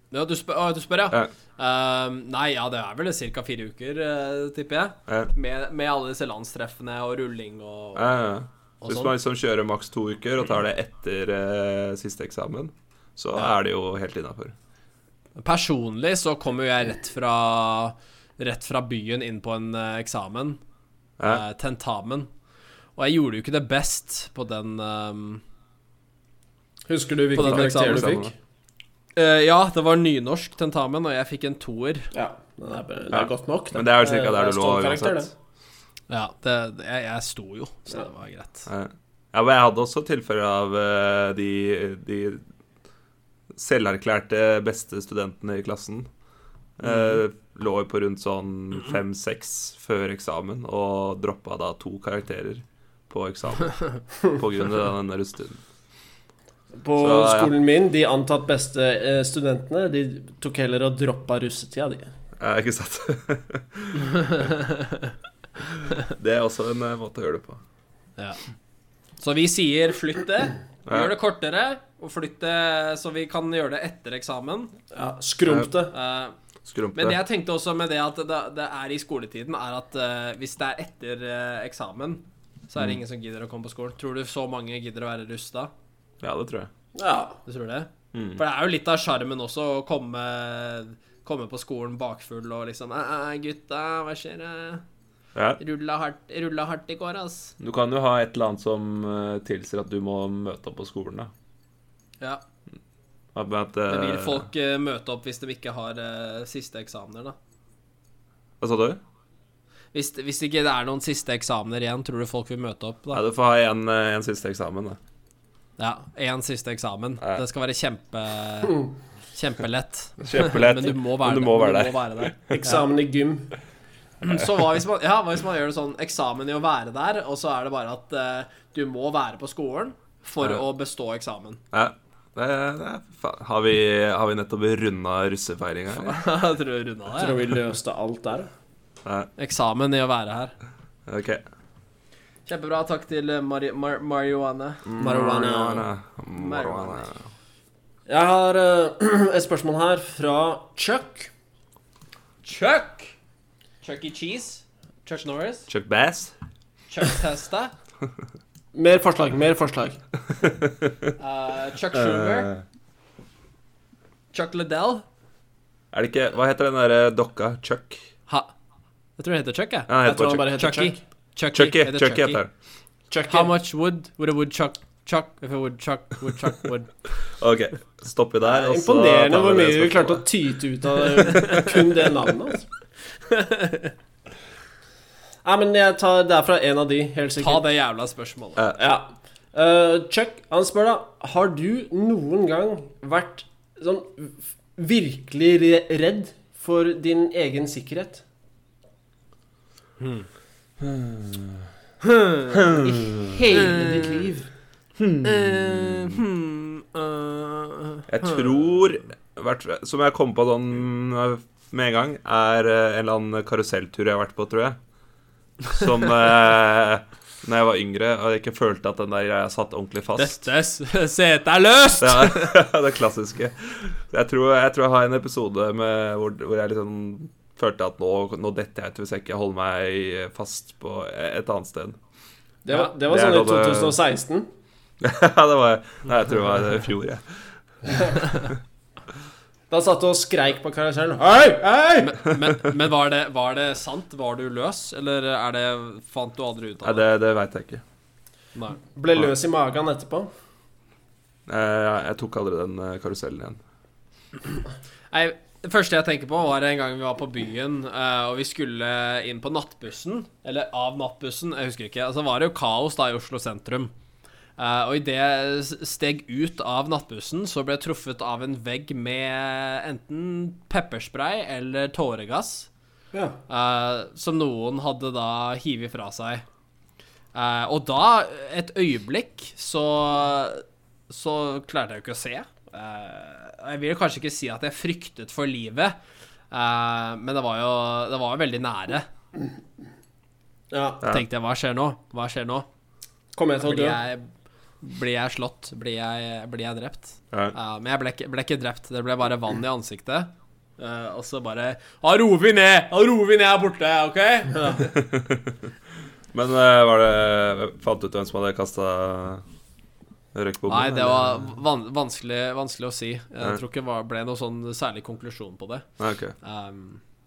D: Ja, du, spør, å, du spør, ja?
E: Ja.
D: Ehm, nei, ja, det er vel ca. fire uker, eh, tipper jeg.
E: Eh,
D: Med, med alle disse landstreffene og rulling og,
E: ja, ja.
D: og
E: Hvis
D: sånn.
E: man liksom kjører maks to uker og tar det etter eh, siste eksamen, så
D: Ja.
E: er det jo helt innafor.
D: Personlig så kommer jo jeg rett fra, rett fra byen inn på en eh, eksamen.
E: Ja.
D: eh, tentamen. Og jeg gjorde jo ikke det best på den ehm,
C: Husker du
D: På
C: hvilken
D: den
C: karakter du
E: eksamen,
C: fikk?
D: eh, Ja, det var nynorsk tentamen, og jeg fikk en toer.
C: Ja. Den er, bare- det
E: Ja.
C: er godt nok.
E: Men det er jo cirka der
C: er
E: du lå
C: stålkarakter,
E: uansett.
D: Ja, det, det- jeg, jeg sto jo, så
C: Ja.
D: det var greit.
E: Ja, Ja, men jeg hadde også tilfeller av eh, de, de selverklærte beste studentene i klassen.
D: Mhm.
E: Eh, Lå jo på rundt sånn fem-seks før eksamen og droppa da to karakterer på eksamen på grunn av denne russetiden.
C: På
E: Så, ja.
C: skolen min, de antatt beste eh, studentene, de tok heller og droppa russetida, de.
E: Ja, ikke sant? Det er også en eh, måte å gjøre det på.
D: Ja. Så vi sier flytt det. Vi
E: Ja.
D: Gjør det kortere, og flytt det så vi kan gjøre det etter eksamen.
C: Ja, Skrumpte.
D: Eh,
E: Skrumpe.
D: men det jeg tenkte også med det at det, det er i skoletiden, er at eh, hvis det er etter eh, eksamen, så er det ingen som gidder å komme på skolen. Tror du så mange gidder å være rusta?
E: Ja, det tror jeg.
C: Ja.
D: Du tror det? For det er jo litt av sjarmen også å komme, komme på skolen bakfull og liksom «Æ, æ, gutta, hva skjer? eh?
E: Ja.
D: Rulla hardt, rulla hardt i går, ass.
E: Du kan jo ha et eller annet som eh, tilsier at du må møte opp på skolen, da.
D: Ja.
E: At, at,
D: Det vil
E: eh,
D: folk eh, møte opp hvis de ikke har eh, siste eksamener, da.
E: Hva sa du?
D: Hvis, hvis ikke det er noen siste eksamener igjen, tror du folk vil møte opp?
E: Ja,
D: da?
E: du får ha en, eh, en siste eksamen, da.
D: Ja, Én siste eksamen.
E: Ja.
D: Det skal være kjempe, kjempelett.
E: Kjempelett.
D: Men du må
E: Men
D: være,
E: du må
D: der.
E: være
D: du
E: der.
D: må være der.
C: Eksamen i gym.
D: Så hva hvis, man, ja, hva hvis man gjør det sånn eksamen i å være der, og så er det bare at eh, du må være på skolen for
E: Ja.
D: å bestå eksamen?
E: Ja. Det, det, er- faen. har, vi, har vi nettopp runda russefeiringa?
D: Jeg tror vi runda det.
C: Tror vi løste alt der.
E: Nei,
D: eksamen i å være her.
E: OK.
D: Kjempebra. Takk til eh, Mari Mar Marihuana.
C: Marihuana.
E: Marihuana.
C: Jeg har eh, et spørsmål her fra Chuck.
D: Chuck! Chuck E. Cheese. Chuck Norris.
E: Chuck Bass.
D: Chuck Testa.
C: Mer forslag, mer forslag.
D: eh, Chuck Sugar.
E: Eh,
D: Chuck Liddell.
E: er det ikke Hva heter den derre dokka? Chuck?
D: Ha. Jeg tror det heter Chuck, jeg.
E: Ja,
C: Jeg
E: den heter
C: tror
E: bare
C: han
E: Chuck.
C: bare heter
D: Chucky.
C: Chuck.
D: Chucky.
E: Chucky.
D: heter
E: Chucky
D: Chucky.
E: heter den.
C: Chucky.
D: How much wood would a woodchuck chuck if a woodchuck would chuck wood?
E: OK, stopper der. og så tar
C: Imponerende
E: vi
C: hvor
E: det
C: mye vi
E: spørsmålet.
C: klarte å tyte ut av det- kun det navnet. Altså. Nei, men jeg tar det er fra en av de, helt
D: Ta
C: sikkert.
D: det jævla spørsmålet.
C: Ja. Eh, Chuck, han spør da Har du noen gang vært sånn v- virkelig re- redd for din egen sikkerhet? I hele ditt liv.
E: Jeg tror hvert- Som jeg kom på sånn med en gang, er eh, en eller annen karuselltur jeg har vært på, tror jeg. Som eh, Når jeg var yngre og jeg ikke følte at den der greia satt ordentlig fast.
D: Dette s- setet er løst!
E: Det er det klassiske. Så Jeg tror jeg, tror jeg har en episode med, hvor, hvor jeg liksom følte at nå, nå detter jeg ut hvis jeg ikke holder meg fast på et annet sted.
C: Det var, det var
E: Det er
C: sånn i
E: da det-
C: 2016.
E: Ja, det var Nei, jeg tror det var i fjor, jeg.
C: Da satt du og skreik på karusellen. Hei, hei!
D: Men, men var, det, var det sant? Var du løs, eller er det fant du aldri ut
E: Nei,
D: av det?
E: det, det veit jeg ikke.
D: Nei.
C: Ble løs i magen etterpå.
E: Eh, Jeg tok aldri den eh, karusellen igjen.
D: Nei, det første jeg tenker på, var en gang vi var på byen, eh, og vi skulle inn på nattbussen. Eller av nattbussen, jeg husker ikke. Altså var det jo kaos da i Oslo sentrum. Eh, og idet jeg steg ut av nattbussen, så ble jeg truffet av en vegg med enten pepperspray eller tåregass.
C: Ja.
D: eh, som noen hadde da hivet fra seg. Eh, og da, et øyeblikk, så Så klarte jeg jo ikke å se. Eh, jeg vil kanskje ikke si at jeg fryktet for livet, eh, men det var jo det var jo veldig nære.
C: ja.
E: Ja.
D: tenkte jeg, hva skjer nå? Hva skjer nå?
C: Kommer jeg til å
D: Blir
C: dø?
D: jeg, blir jeg slått? Blir jeg, blir jeg drept?
E: Ja.
D: Ja, men jeg ble, ikke- ble ikke drept. Det ble bare vann i ansiktet. Eh, og så bare Da roer vi ned! Da roer vi ned her borte, OK?
E: Men eh, var det Fant du ut hvem som hadde kasta røykbomben?
D: Nei, det
E: eller?
D: var van vanskelig, vanskelig å si.
E: Ja.
D: Jeg tror ikke det var- ble noe sånn særlig konklusjon på det.
E: Nei, ok.
D: Um,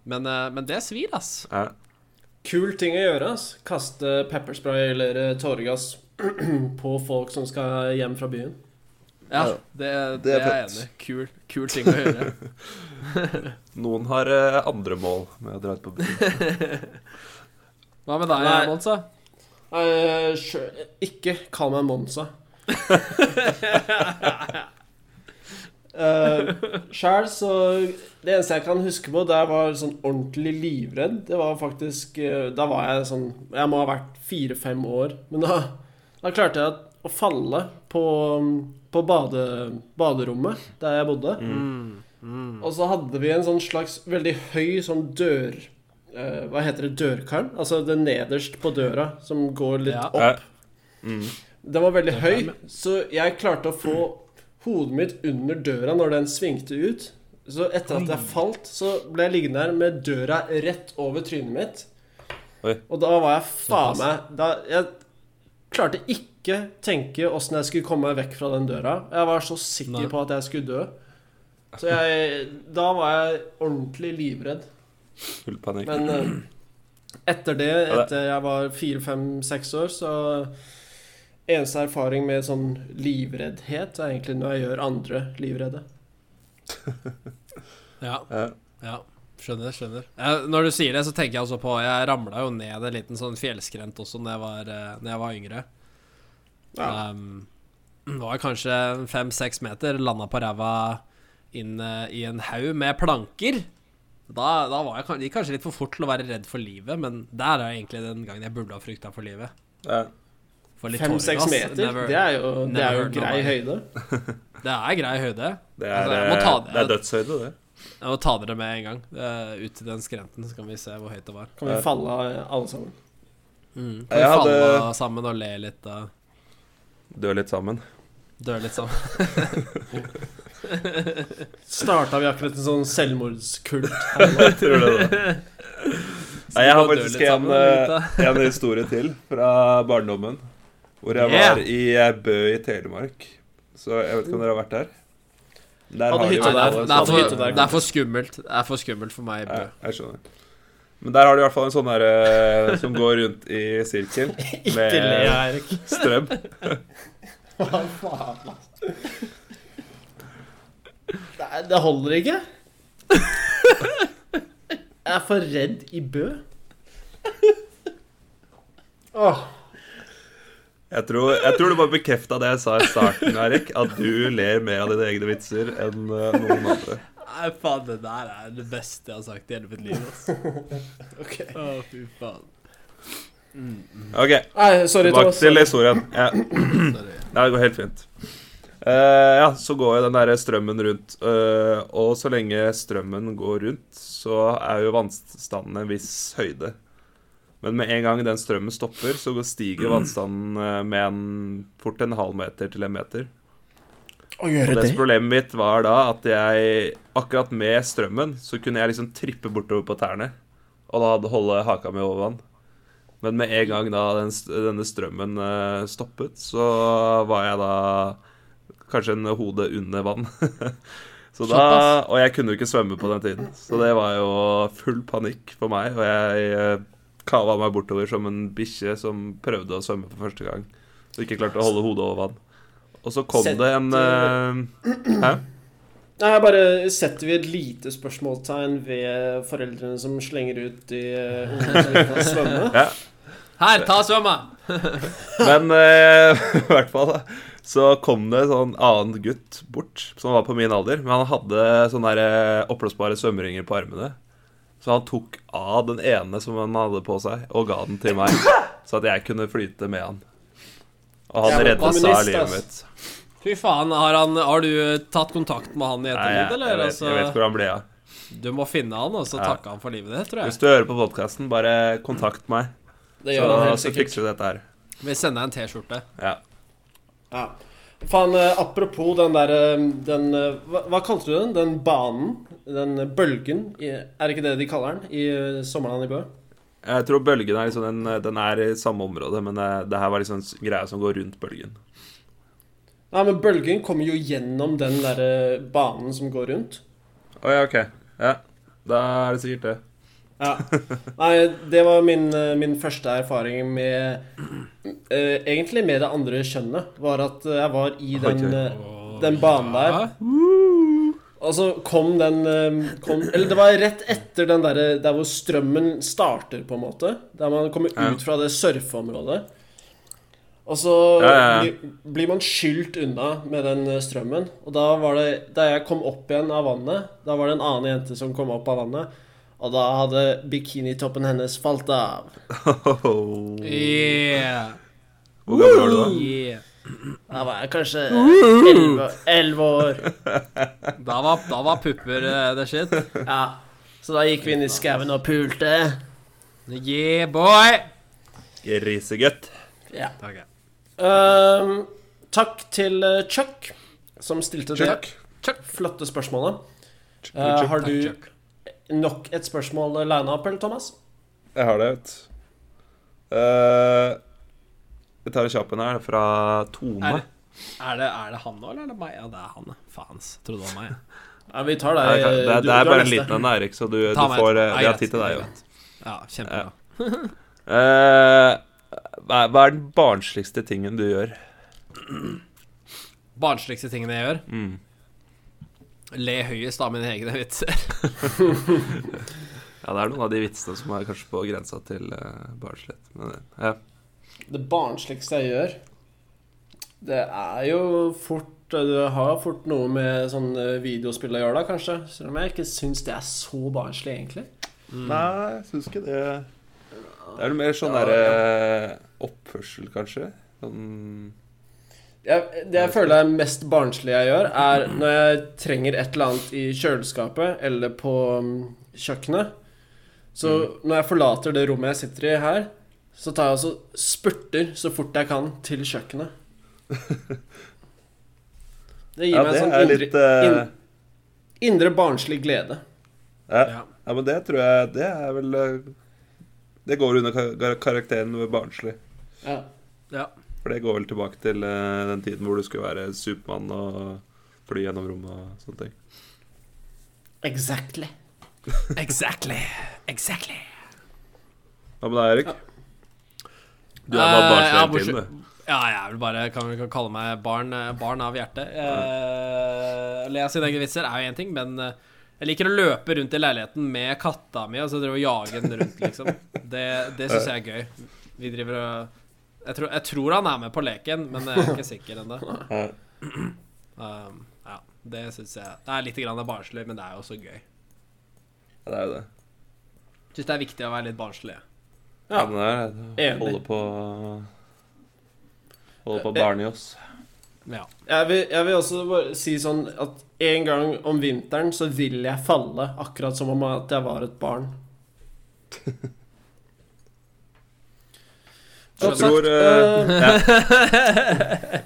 D: men, eh, men det svir, ass.
E: Ja.
C: Kul ting å gjøre. ass. Kaste pepperspray eller eh, tåregass på folk som skal hjem fra byen.
D: Ja, det, det er jeg enig i. Kul, kul ting å gjøre.
E: Noen har eh, andre mål med å dra ut på byen.
D: Hva med
C: Nei.
D: deg, Monsa?
C: Eh, sjø- ikke kall meg Monsa. Uh, Sjæl, så Det eneste jeg kan huske på da jeg var sånn ordentlig livredd, det var faktisk eh, Da var jeg sånn Jeg må ha vært fire-fem år. Men da, da klarte jeg å falle på, på bade, baderommet der jeg bodde. Og så hadde vi en sånn slags veldig høy sånn dør eh, Hva heter det? Dørkarm? Altså det nederst på døra som går litt
D: Ja.
E: Ja.
C: opp. Den var veldig høy, så jeg klarte å få hodet mitt under døra når den svingte ut. Så etter at jeg falt, så ble jeg liggende her med døra rett over trynet mitt.
E: Oi.
C: Og da var jeg faen meg da, Jeg klarte ikke tenke åssen jeg skulle komme meg vekk fra den døra. Jeg var så sikker
D: Nei.
C: på at jeg skulle dø. Så jeg Da var jeg ordentlig livredd.
E: Full panikk.
C: Men eh, etter det,
E: Ja, det-
C: etter jeg var fire, fem, seks år, så Eneste erfaring med sånn livreddhet er egentlig når jeg gjør andre livredde.
D: Ja,
E: Ja.
D: ja. Skjønner, skjønner. Eh, når du sier det, så tenker jeg også på Jeg ramla jo ned en liten sånn fjellskrent også da jeg var, eh, når jeg var yngre.
C: Ja.
D: Um, var kanskje fem-seks meter, landa på ræva inn eh, i en haug med planker. Da, da var jeg kan- gikk kanskje litt for fort til å være redd for livet, men der er egentlig den gangen jeg burde ha frykta for livet.
E: Ja.
D: For litt
C: Fem-seks
D: tåregass,
C: meter,
D: never-
C: det er jo, det
D: never
C: er jo
D: heard
C: grei
D: nobody.
C: høyde.
D: det er grei høyde.
E: Det, er,
D: Altså, jeg må ta
E: eh, det er dødshøyde, det.
D: Jeg må ta dere med en gang. eh, Ut til den skrenten, så kan vi se hvor høyt det var.
C: Kan vi falle av eh, alle sammen?
D: Mm. Kan vi
E: Jeg
D: falle
E: hadde-
D: av sammen og le litt og
E: Dø litt sammen.
D: dø litt sammen?
C: Starta vi akkurat en sånn selvmordskult?
E: Jeg tror det. da. Nei, jeg har
D: Skal vi gå og dø
E: faktisk
D: litt
E: en,
D: sammen, eller,
E: eh, en historie til fra barndommen. Hvor jeg var
D: Yeah.
E: i eh, Bø i Telemark. Så jeg vet ikke om dere har vært der. Der
C: Hadde
E: har de
C: hytte
E: jo-
D: Nei,
C: der.
D: det, er, det,
C: Hadde
D: er for,
C: hytte der.
D: det er for skummelt. Det er for skummelt for meg.
E: Ja,
D: Bø.
E: jeg skjønner. Men der har de i hvert fall en sånn derre som går rundt i sirkel
C: Ikke
E: Med-
C: le, Eirik.
E: strøm.
C: Hva faen, altså. Nei, det holder ikke. Jeg er for redd i Bø. Åh,
E: Jeg tror, jeg tror du bare bekrefta det jeg sa i starten, Erik. At du ler mer av dine egne vitser enn eh, noen andre.
D: Nei, faen, det der er det beste jeg har sagt i hele mitt liv. Altså. Å, fy faen.
E: OK.
C: Nei, sorry,
E: Tilbake
C: Thomas.
E: til historien. Ja. Nei, det går helt fint. Eh, ja, så går jo den der strømmen rundt. eh, og så lenge strømmen går rundt, så er jo vannstanden en viss høyde. Men med en gang den strømmen stopper, så går- stiger
C: Mm.
E: vannstanden eh, med en, fort en halv meter til en meter.
C: Å
E: Og
C: gjøre
E: det
C: det?
E: som problemet mitt var da at jeg akkurat med strømmen så kunne jeg liksom trippe bortover på tærne. Og da hadde holde haka mi over vann. Men med en gang da den, st- denne strømmen eh, stoppet, så var jeg da kanskje en hode under vann. så da,
D: Såpass.
E: og jeg kunne jo ikke svømme på den tiden, så det var jo full panikk for meg. Og jeg eh, kava meg bortover som en bikkje som prøvde å svømme for første gang. Og ikke klarte å holde hodet over vann. Og så kom
C: Sett,
E: det en eh, Hæ?
C: Nei, bare setter vi et lite spørsmålstegn ved foreldrene som slenger ut i eh, ungene som ikke kan svømme.
E: Ja.
D: Her, ta svømma!
E: Men eh, i hvert fall da, så kom det en sånn annen gutt bort, som var på min alder. Men han hadde sånne der, eh, oppblåsbare svømmeringer på armene. Så han tok av den ene som han hadde på seg, og ga den til meg. Så at jeg kunne flyte med han. Og
C: Jeg
E: han
C: er
E: redda seg av
C: kommunist,
E: livet
C: ass.
E: mitt.
D: Fy faen, har, han, har du eh, tatt kontakt med han i
E: Nei,
D: ettertid,
E: jeg,
D: eller? Altså,
E: jeg, vet,
C: altså-
E: jeg vet hvor han ble av.
D: Du må finne han, og så
E: Ja.
D: takke han for livet ditt, tror
E: Hvis
D: jeg.
E: du hører på podkasten, bare kontakt meg, så,
C: Det gjør han helt
E: så
C: sikkert.
E: fikser vi dette her.
D: Vi sender deg en T-skjorte.
E: Ja.
C: Ja. Faen, eh, apropos den derre den, eh, hva, hva kalte du den? Den banen? Den eh, bølgen? I, er det ikke det de kaller den i eh, sommerland i Bø?
E: Jeg tror bølgen er liksom den, den er i samme område, men det, det her var liksom s- greia som går rundt bølgen.
C: Nei, men bølgen kommer jo gjennom den derre banen som går rundt.
E: Å ja, ok. Ja, da er det sikkert det.
C: Ja. Nei, det var min, eh, min første erfaring med eh, Egentlig med det andre kjønnet. Var at eh, jeg var i den,
E: Oi, oi.
C: eh, den banen der. Og så kom den eh, kom, Eller det var rett etter den derre der hvor strømmen starter, på en måte. Der man kommer
E: Ja.
C: ut fra det surfeområdet. Og så
E: Ja, ja, ja.
C: Blir, blir man skylt unna med den eh, strømmen. Og da var det Da jeg kom opp igjen av vannet, da var det en annen jente som kom opp av vannet. Og da hadde bikinitoppen hennes falt av.
E: Mm.
D: Yeah.
E: Hvor gammel var du da?
D: Yeah.
C: Da var jeg kanskje elleve elleve år.
D: Da var, da var pupper eh, the shit.
C: Ja. Så da gikk vi inn i skauen og pulte.
D: Yeah, boy!
E: Grisegutt.
C: Ja.
D: Takk, ja.
C: Ehm, takk til eh, Chuck, som stilte det
E: Chuck.
C: flotte spørsmålet. Eh, har
D: Takk,
C: du
D: Chuck.
C: nok et spørsmål eh, lina opp, eller, Thomas?
E: Jeg har det, vet du. Eh, Jeg tar en kjapp en her, fra Tone.
D: Er, er, det, er det han nå, eller er det meg? Ja, det er han. ja. Faen, ass. trodde det var meg. ja.
C: Ja, vi tar deg.
E: Nei, det, er- det,
C: eh,
E: er-
C: du-
E: det er
C: du
E: bare en
C: neste.
E: liten en, Erik, så du, du
D: Ta meg.
E: får eh, Vi
D: Ja,
E: har
D: greit,
E: tid til deg òg.
D: greit. Ja, kjempebra.
E: Eh, hva hva er den barnsligste tingen du gjør?
D: Barnsligste tingene jeg gjør?
E: Mm.
D: Le høyest av mine egne vitser.
E: Ja, Det er noen av de vitsene som er kanskje på grensa til uh, barnslighet. Men, eh, ja.
C: Det barnsligste jeg gjør, det er jo fort eh, Det har fort noe med sånn eh, videospill å gjøre, da, kanskje. Selv om jeg ikke syns det er så barnslig, egentlig.
E: Nei, jeg syns ikke det Det er vel mer sånn
C: Ja,
E: derre oppførsel, kanskje. Sånn
C: Jeg, det jeg føler er mest barnslige jeg gjør, er når jeg trenger et eller annet i kjøleskapet eller på mm, kjøkkenet. Så
E: Mm.
C: når jeg forlater det rommet jeg sitter i her, så tar jeg altså spurter så fort jeg kan til kjøkkenet. Det gir
E: Ja,
C: meg
E: det
C: en sånn
E: er
C: indre,
E: litt, eh,
C: inn- indre barnslig glede.
E: Ja.
D: Ja.
E: ja, men det tror jeg Det er vel eh, Det går under kar- karakteren ved barnslig.
C: Ja.
D: Ja.
E: For det går vel tilbake til eh, den tiden hvor du skulle være Supermann og fly gjennom rommet og sånne ting.
C: Exactly.
D: Exactly. Exactly.
E: Hva med deg, Erik? Du er bare
D: Eh,
E: barnslig
D: ja,
E: hele
D: bortsett-
E: tiden, du.
D: Ja, jeg vil bare kan vel kalle meg barn, barn av hjertet. Eh, å le av sine egne vitser er jo én ting, men eh, jeg liker å løpe rundt i leiligheten med katta mi og så drive og jage den rundt, liksom. Det, det syns jeg er gøy. Vi driver og jeg tror, jeg tror han er med på leken, men jeg er ikke sikker ennå.
E: Ja.
D: Um, ja, det syns jeg Det er litt grann barnslig, men det er jo også gøy.
E: Ja, Det er jo det.
D: Syns det er viktig å være litt barnslig.
E: Ja, men det er
C: Enig. Eh,
E: det. Holde på Holde på barnet i oss.
D: Ja.
C: Jeg vil, jeg vil også bare si sånn at en gang om vinteren så vil jeg falle, akkurat som om at jeg var et barn.
E: Jeg
C: Godt
E: tror
C: sagt,
E: eh, ja.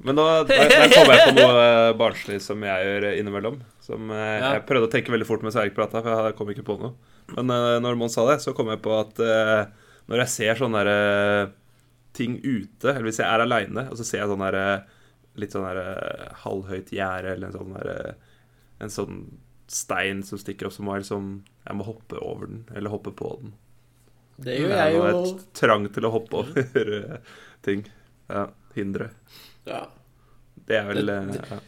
E: Men nå der, der kom jeg på noe eh, barnslig som jeg gjør innimellom. Som eh,
D: Ja.
E: Jeg prøvde å tenke veldig fort mens Erik prata, for jeg kom ikke på noe. Men eh, når Mons sa det, så kom jeg på at eh, når jeg ser sånne der, eh, ting ute, eller hvis jeg er aleine, og så ser jeg sånn der eh, litt sånn der eh, halvhøyt gjerde eller en sånn der eh, En sånn stein som stikker opp som var liksom Jeg må hoppe over den, eller hoppe på den. Det
C: Det gjør
E: er
C: jeg
E: jo
C: jo.
E: et trang til å hoppe over eh, ting. Ja, hindre.
C: Ja.
E: Det er vel eh, ja.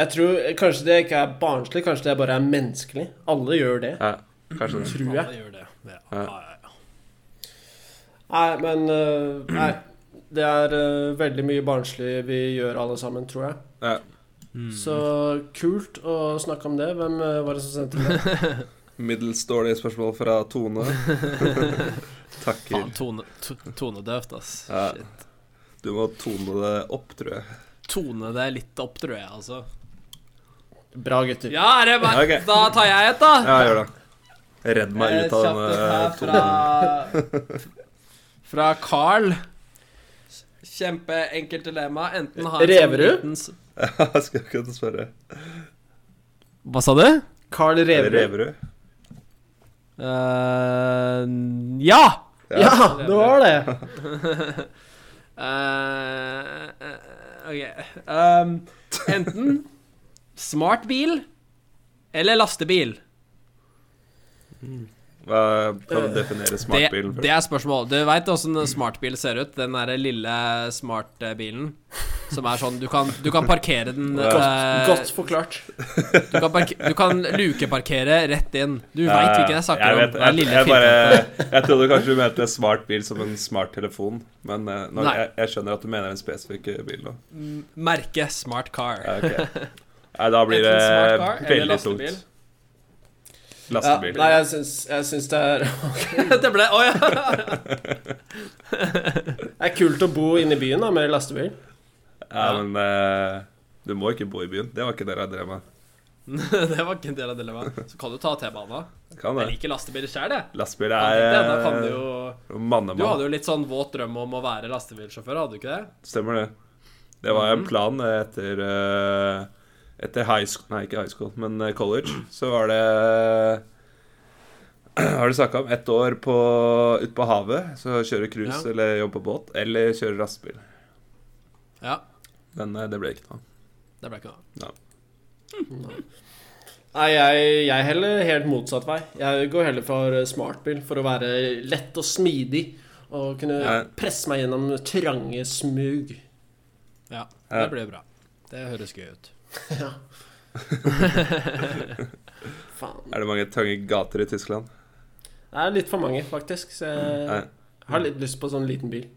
C: Jeg tror kanskje det ikke er barnslig, kanskje det bare er menneskelig. Alle gjør det,
E: ja, kanskje det.
C: tror jeg.
D: Alle gjør det. Ja.
E: Ja.
D: Ja, ja, ja.
C: Nei, men øh, Nei. Det er øh, veldig mye barnslig vi gjør alle sammen, tror jeg.
E: Ja.
C: Så kult å snakke om det. Hvem øh, var det som sendte det?
E: Middels dårlige spørsmål fra Tone. Takker.
D: Faen, tone, to, tonedøvt, ass.
E: Ja.
D: Shit.
E: Du må tone det opp, tror jeg.
D: Tone det litt opp, tror jeg, altså.
C: Bra, gutter.
D: Ja, er det meg?
E: Ja, ok.
D: Da tar jeg et, da.
E: Ja, gjør det. Redd meg ut av
D: Ah. Eh,
E: denne
D: kjapt et
E: tonen.
D: her Fra, fra Carl. Kjempeenkelt dilemma. Enten ha en sånn
C: Reverud?
D: liten s-
E: Jeg skal ikke spørre.
D: Hva sa du?
C: Carl Reverud.
E: Reverud?
D: Eh, ja!
C: Ja, det var det!
D: Eh, eh, ok. Um, enten smart bil eller lastebil.
E: Hva- Prøv å definere
D: Eh, Det,
E: smartbilen
D: det
E: først.
D: er spørsmål. Du veit åssen en smartbil ser ut? Den derre lille smartbilen som er sånn Du kan, du kan parkere den eh,
C: Godt, godt forklart.
D: Du kan, park du kan lukeparkere rett inn. Du
E: Ja,
D: veit
E: ja,
D: hvilken jeg snakker om.
E: vet-
D: Den
E: Jeg,
D: lille
E: jeg,
D: firkanten.
E: bare, jeg trodde kanskje du mente smartbil som en smarttelefon, men eh, når,
D: Nei.
E: jeg, jeg skjønner at du mener en spesifikk eh, bil nå.
D: Merke smart car.
E: Ja, ok. Nei, da blir det
D: Enten smart car eller
E: veldig
D: lastebil?
E: tungt.
C: Ja,
E: Lastebil.
C: nei, jeg syns, jeg syns det er
D: det ble Å ja!
C: Det er kult å bo inne i byen da, med lastebil.
E: ja, men eh, du må ikke bo i byen. Det var ikke det jeg drev med.
D: det var ikke en del av dilemmaet. Så kan du ta T-bana.
E: Kan
D: Jeg
E: det.
D: liker lastebil sjøl, jeg.
E: Lastebil
D: Kan
E: er
D: tenke deg, Da kan du
E: eh,
D: jo
E: mannemann.
D: Du hadde jo litt sånn våt drøm om å være lastebilsjåfør, hadde du ikke det?
E: Stemmer det. Det var
D: Mhm.
E: en plan eh, etter eh, Etter high school Nei, ikke high school, men eh, college.
C: Mm.
E: Så var det eh, Har du snakka om ett år på, ute på havet? Så kjøre cruise
D: Ja.
E: eller jobbe på båt. Eller kjøre lastebil.
D: Ja.
E: Men eh, det ble ikke noe.
D: Det ble ikke noe.
C: Nei, jeg, jeg heller helt motsatt vei. Jeg går heller for smartbil for å være lett og smidig. Og kunne
E: Ja.
C: presse meg gjennom trange smug.
D: Ja,
E: Ja.
D: det blir bra. Det høres gøy ut.
C: Ja. Faen.
E: Er det mange trange gater i Tyskland?
C: Det er litt for mange, faktisk. Så
E: Nei,
C: jeg har litt lyst på sånn liten bil.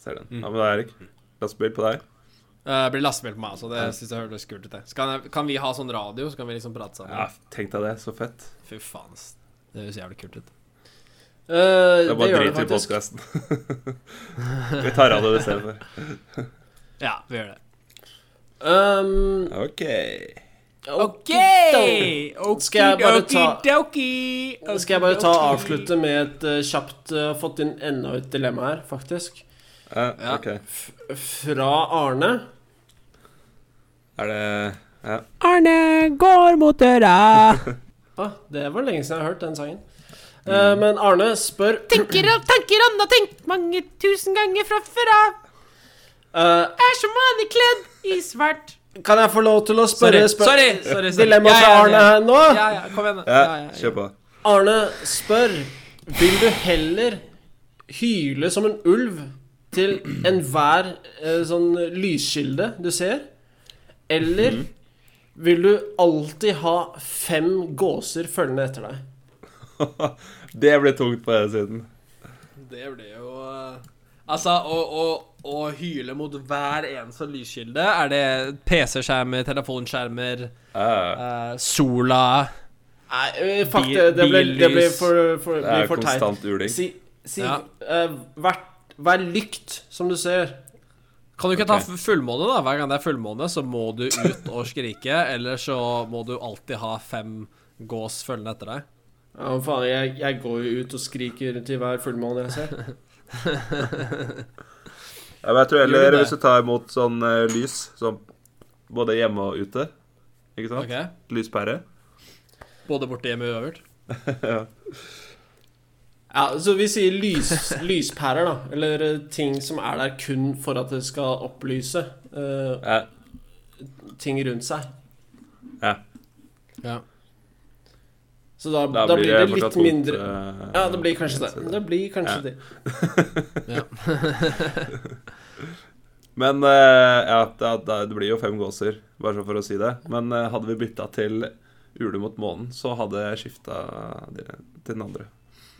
E: ser den. Hva med deg, Erik? Lastebil på deg?
D: Eh, Det blir lastebil på meg, altså. Det syns jeg høres kult ut. det. Så kan, jeg, kan vi ha sånn radio, så kan vi liksom prate sammen?
E: Ja, tenk deg det. Så fett.
D: Fy faen, ass. Det høres jævlig kult ut.
C: Eh, det,
E: Det er bare
C: gjør det
E: drit i
C: faktisk.
E: podkasten. Vi tar av det istedenfor.
D: Ja, vi gjør det.
C: Um,
E: OK.
D: OK!
C: Skal jeg bare ta-
D: Okidoki!
C: Skal jeg bare ta og avslutte med et eh, kjapt eh, Fått inn enda et dilemma her, faktisk.
E: Ja,
D: Ja.
E: ok.
C: Fra Arne.
E: Er det ja.
D: Arne går mot døra.
C: Ah, det var lenge siden jeg har hørt den sangen. Eh, men Arne spør
F: Tenker og tanker han har tenkt mange tusen ganger fra før av.
C: eh,
F: Er som vanlig kledd i svart.
C: Kan jeg få lov til å spørre
D: Sorry,
C: spør
D: sorry, sorry, sorry.
C: dilemma
D: Ja, ja,
C: fra
D: ja.
C: Arne her nå?
D: Ja, ja, kom igjen. da.
E: ja,
D: Ja, ja, ja.
E: kjør på.
C: Arne spør Vil du heller hyle som en ulv til enhver eh, sånn lyskilde du ser? Eller
D: Mhm.
C: vil du alltid ha fem gåser følgende etter deg?
E: Det ble tungt på den siden.
D: Det blir jo eh, Altså, å, å, å hyle mot hver eneste lyskilde Er det PC-skjermer, telefonskjermer,
E: Ja,
D: eh, sola
C: Nei, eh, fuck
D: Bil-
C: det. Det blir, det blir
D: billys.
C: for, for,
E: det er
C: blir for teit.
E: konstant uling.
C: Si, si
D: Ja.
C: eh, hvert, hver lykt som du ser.
D: Kan du ikke ta
E: Ok.
D: f- fullmåne, da? Hver gang det er fullmåne, så må du ut og skrike. Eller så må du alltid ha fem gås følgende etter deg.
C: Ja, men faen, jeg, jeg går jo ut og skriker til hver fullmåne jeg ser.
E: Ja, men jeg tror
D: Gjør
E: heller
D: det.
E: hvis du tar imot sånn eh, lys, sånn både hjemme og ute Ikke sant?
D: Ok?
E: Lyspære.
D: Både borte, hjemme og øvert.
E: ja.
C: Ja, så vi sier lys, lyspærer, da. Eller eh, ting som er der kun for at det skal opplyse eh,
E: Ja.
C: ting rundt seg.
E: Ja.
D: Ja.
C: Så da, da, blir det, litt
E: fortsatt
C: mindre
E: mot, eh,
C: Ja, det blir kanskje det. Det blir kanskje
E: Ja.
C: det.
E: Men eh, ja, det, det, det blir jo fem gåser, bare så for å si det. Men eh, hadde vi bytta til ule mot månen, så hadde jeg skifta til den andre.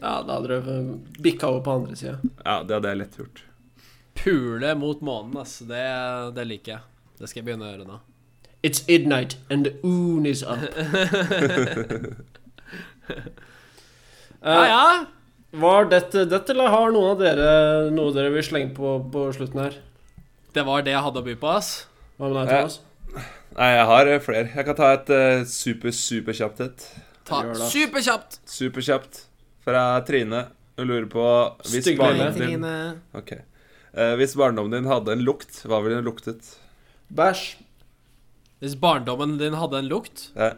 C: Ja, da hadde det bikka over på andre sida.
E: Ja, det hadde jeg lett gjort.
D: Pule mot månen, ass. Det, det liker jeg. Det skal jeg begynne å gjøre nå.
C: It's midnight, and the oon is up.
D: Ja, ja.
C: Var dette dette, eller har noen av dere noe dere vil slenge på på slutten her?
D: Det var det jeg hadde å by på, ass.
C: Hva med deg,
E: Ja.
C: Thomas?
E: Nei, jeg har eh, flere. Jeg kan ta et eh, super, superkjapt et.
D: Ta
C: Gjør det, ass.
D: superkjapt.
E: Superkjapt fra Trine. Hun lurer på hvis
C: Stygg
E: barndommen
C: lille
E: din Ok. Eh, hvis barndommen din hadde en lukt, hva ville den luktet?
C: Bæsj.
D: Hvis barndommen din hadde en lukt
E: Ja.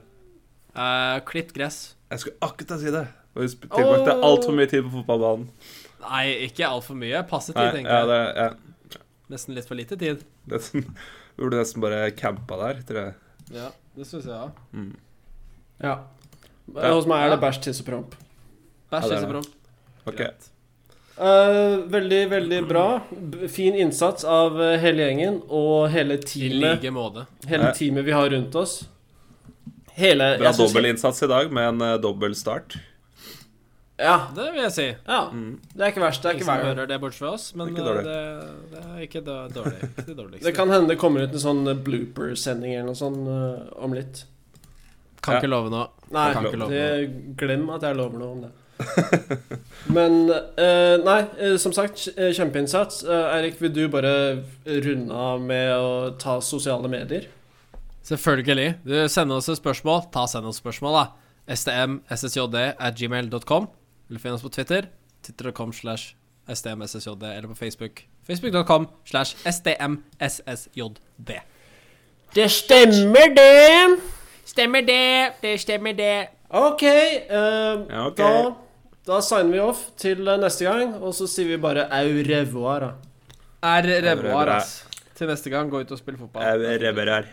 D: eh, Klitt gress.
E: Jeg skulle akkurat til å si det. Og hun tilbrakte altfor mye tid på fotballbanen.
D: Nei, ikke altfor mye. Passe
E: Nei,
D: tid, tenker
E: ja,
D: jeg.
E: det, ja.
D: Nesten litt for lite tid.
E: Nesten, burde nesten bare campa der, tror jeg.
D: Ja, det syns jeg òg.
C: Ja. Hos meg er det bæsj, tiss og promp.
E: Ja,
D: Bæsj
E: det er
D: i
E: det. Ok.
C: Eh, veldig, veldig bra. B fin innsats av eh, hele gjengen og hele
D: I
C: teamet,
D: like måte.
C: hele teamet vi har rundt oss. Hele
E: Bra
C: jeg synes-
E: dobbeltinnsats i dag med en eh, dobbel start.
C: Ja,
D: Det vil jeg si.
C: ja. Det er ikke verst. Det er
D: Ingen
C: ikke
D: som
C: verst.
D: hører det bortsett fra oss, men
E: Det
D: det
E: er ikke
D: det, er ikke da- dårlig. Ikke det dårligste.
C: Det kan hende det kommer ut en sånn eh, blooper-sending eller noe sånt eh, om litt.
D: Kan ikke love noe.
C: Nei,
D: Jeg kan ikke love
C: det, glem at jeg lover noe om det. Men eh, Nei, eh, som sagt, eh, kjempeinnsats. Eh, Eirik, vil du bare runde av med å ta sosiale medier?
D: Selvfølgelig. Du sender oss et spørsmål. Ta send oss spørsmål, da. STM, SSJD at gmail.com. Eller finn oss på Twitter. Twitter.com slash STM, SSJD. Eller på Facebook. Facebook.com slash STM, SSJD.
C: Det stemmer, det!
F: Stemmer det, det stemmer det.
C: Ok, eh,
E: Ja, ok.
C: Da, da signer vi off til eh, neste gang, og så sier vi bare au revoir. Da.
D: Er
E: revoir,
D: revoir,
E: ass.
D: ass. Til neste gang, gå ut og spill
E: Jeg
D: fotball.
E: rever her.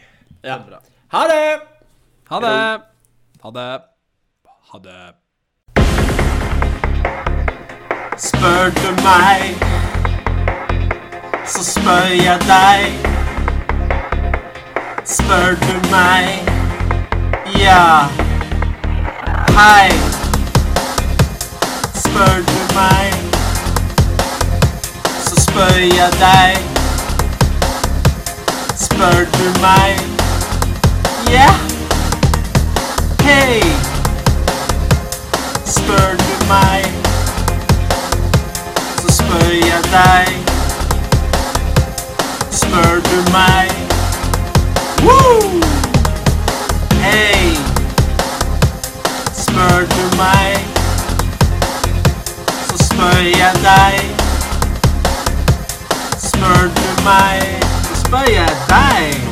C: Ja. Ha det!
D: Ha det! Ha det. Ha det.
A: Spør du meg, så spør jeg deg. Spør du meg, ja, hei. Spør du meg, så spør jeg deg. Spør du meg, ja, hei. Spør du meg så spør jeg deg. murder meg. Woo! Hey! Spør du meg, så spør jeg deg. Spør du meg, så spør jeg deg.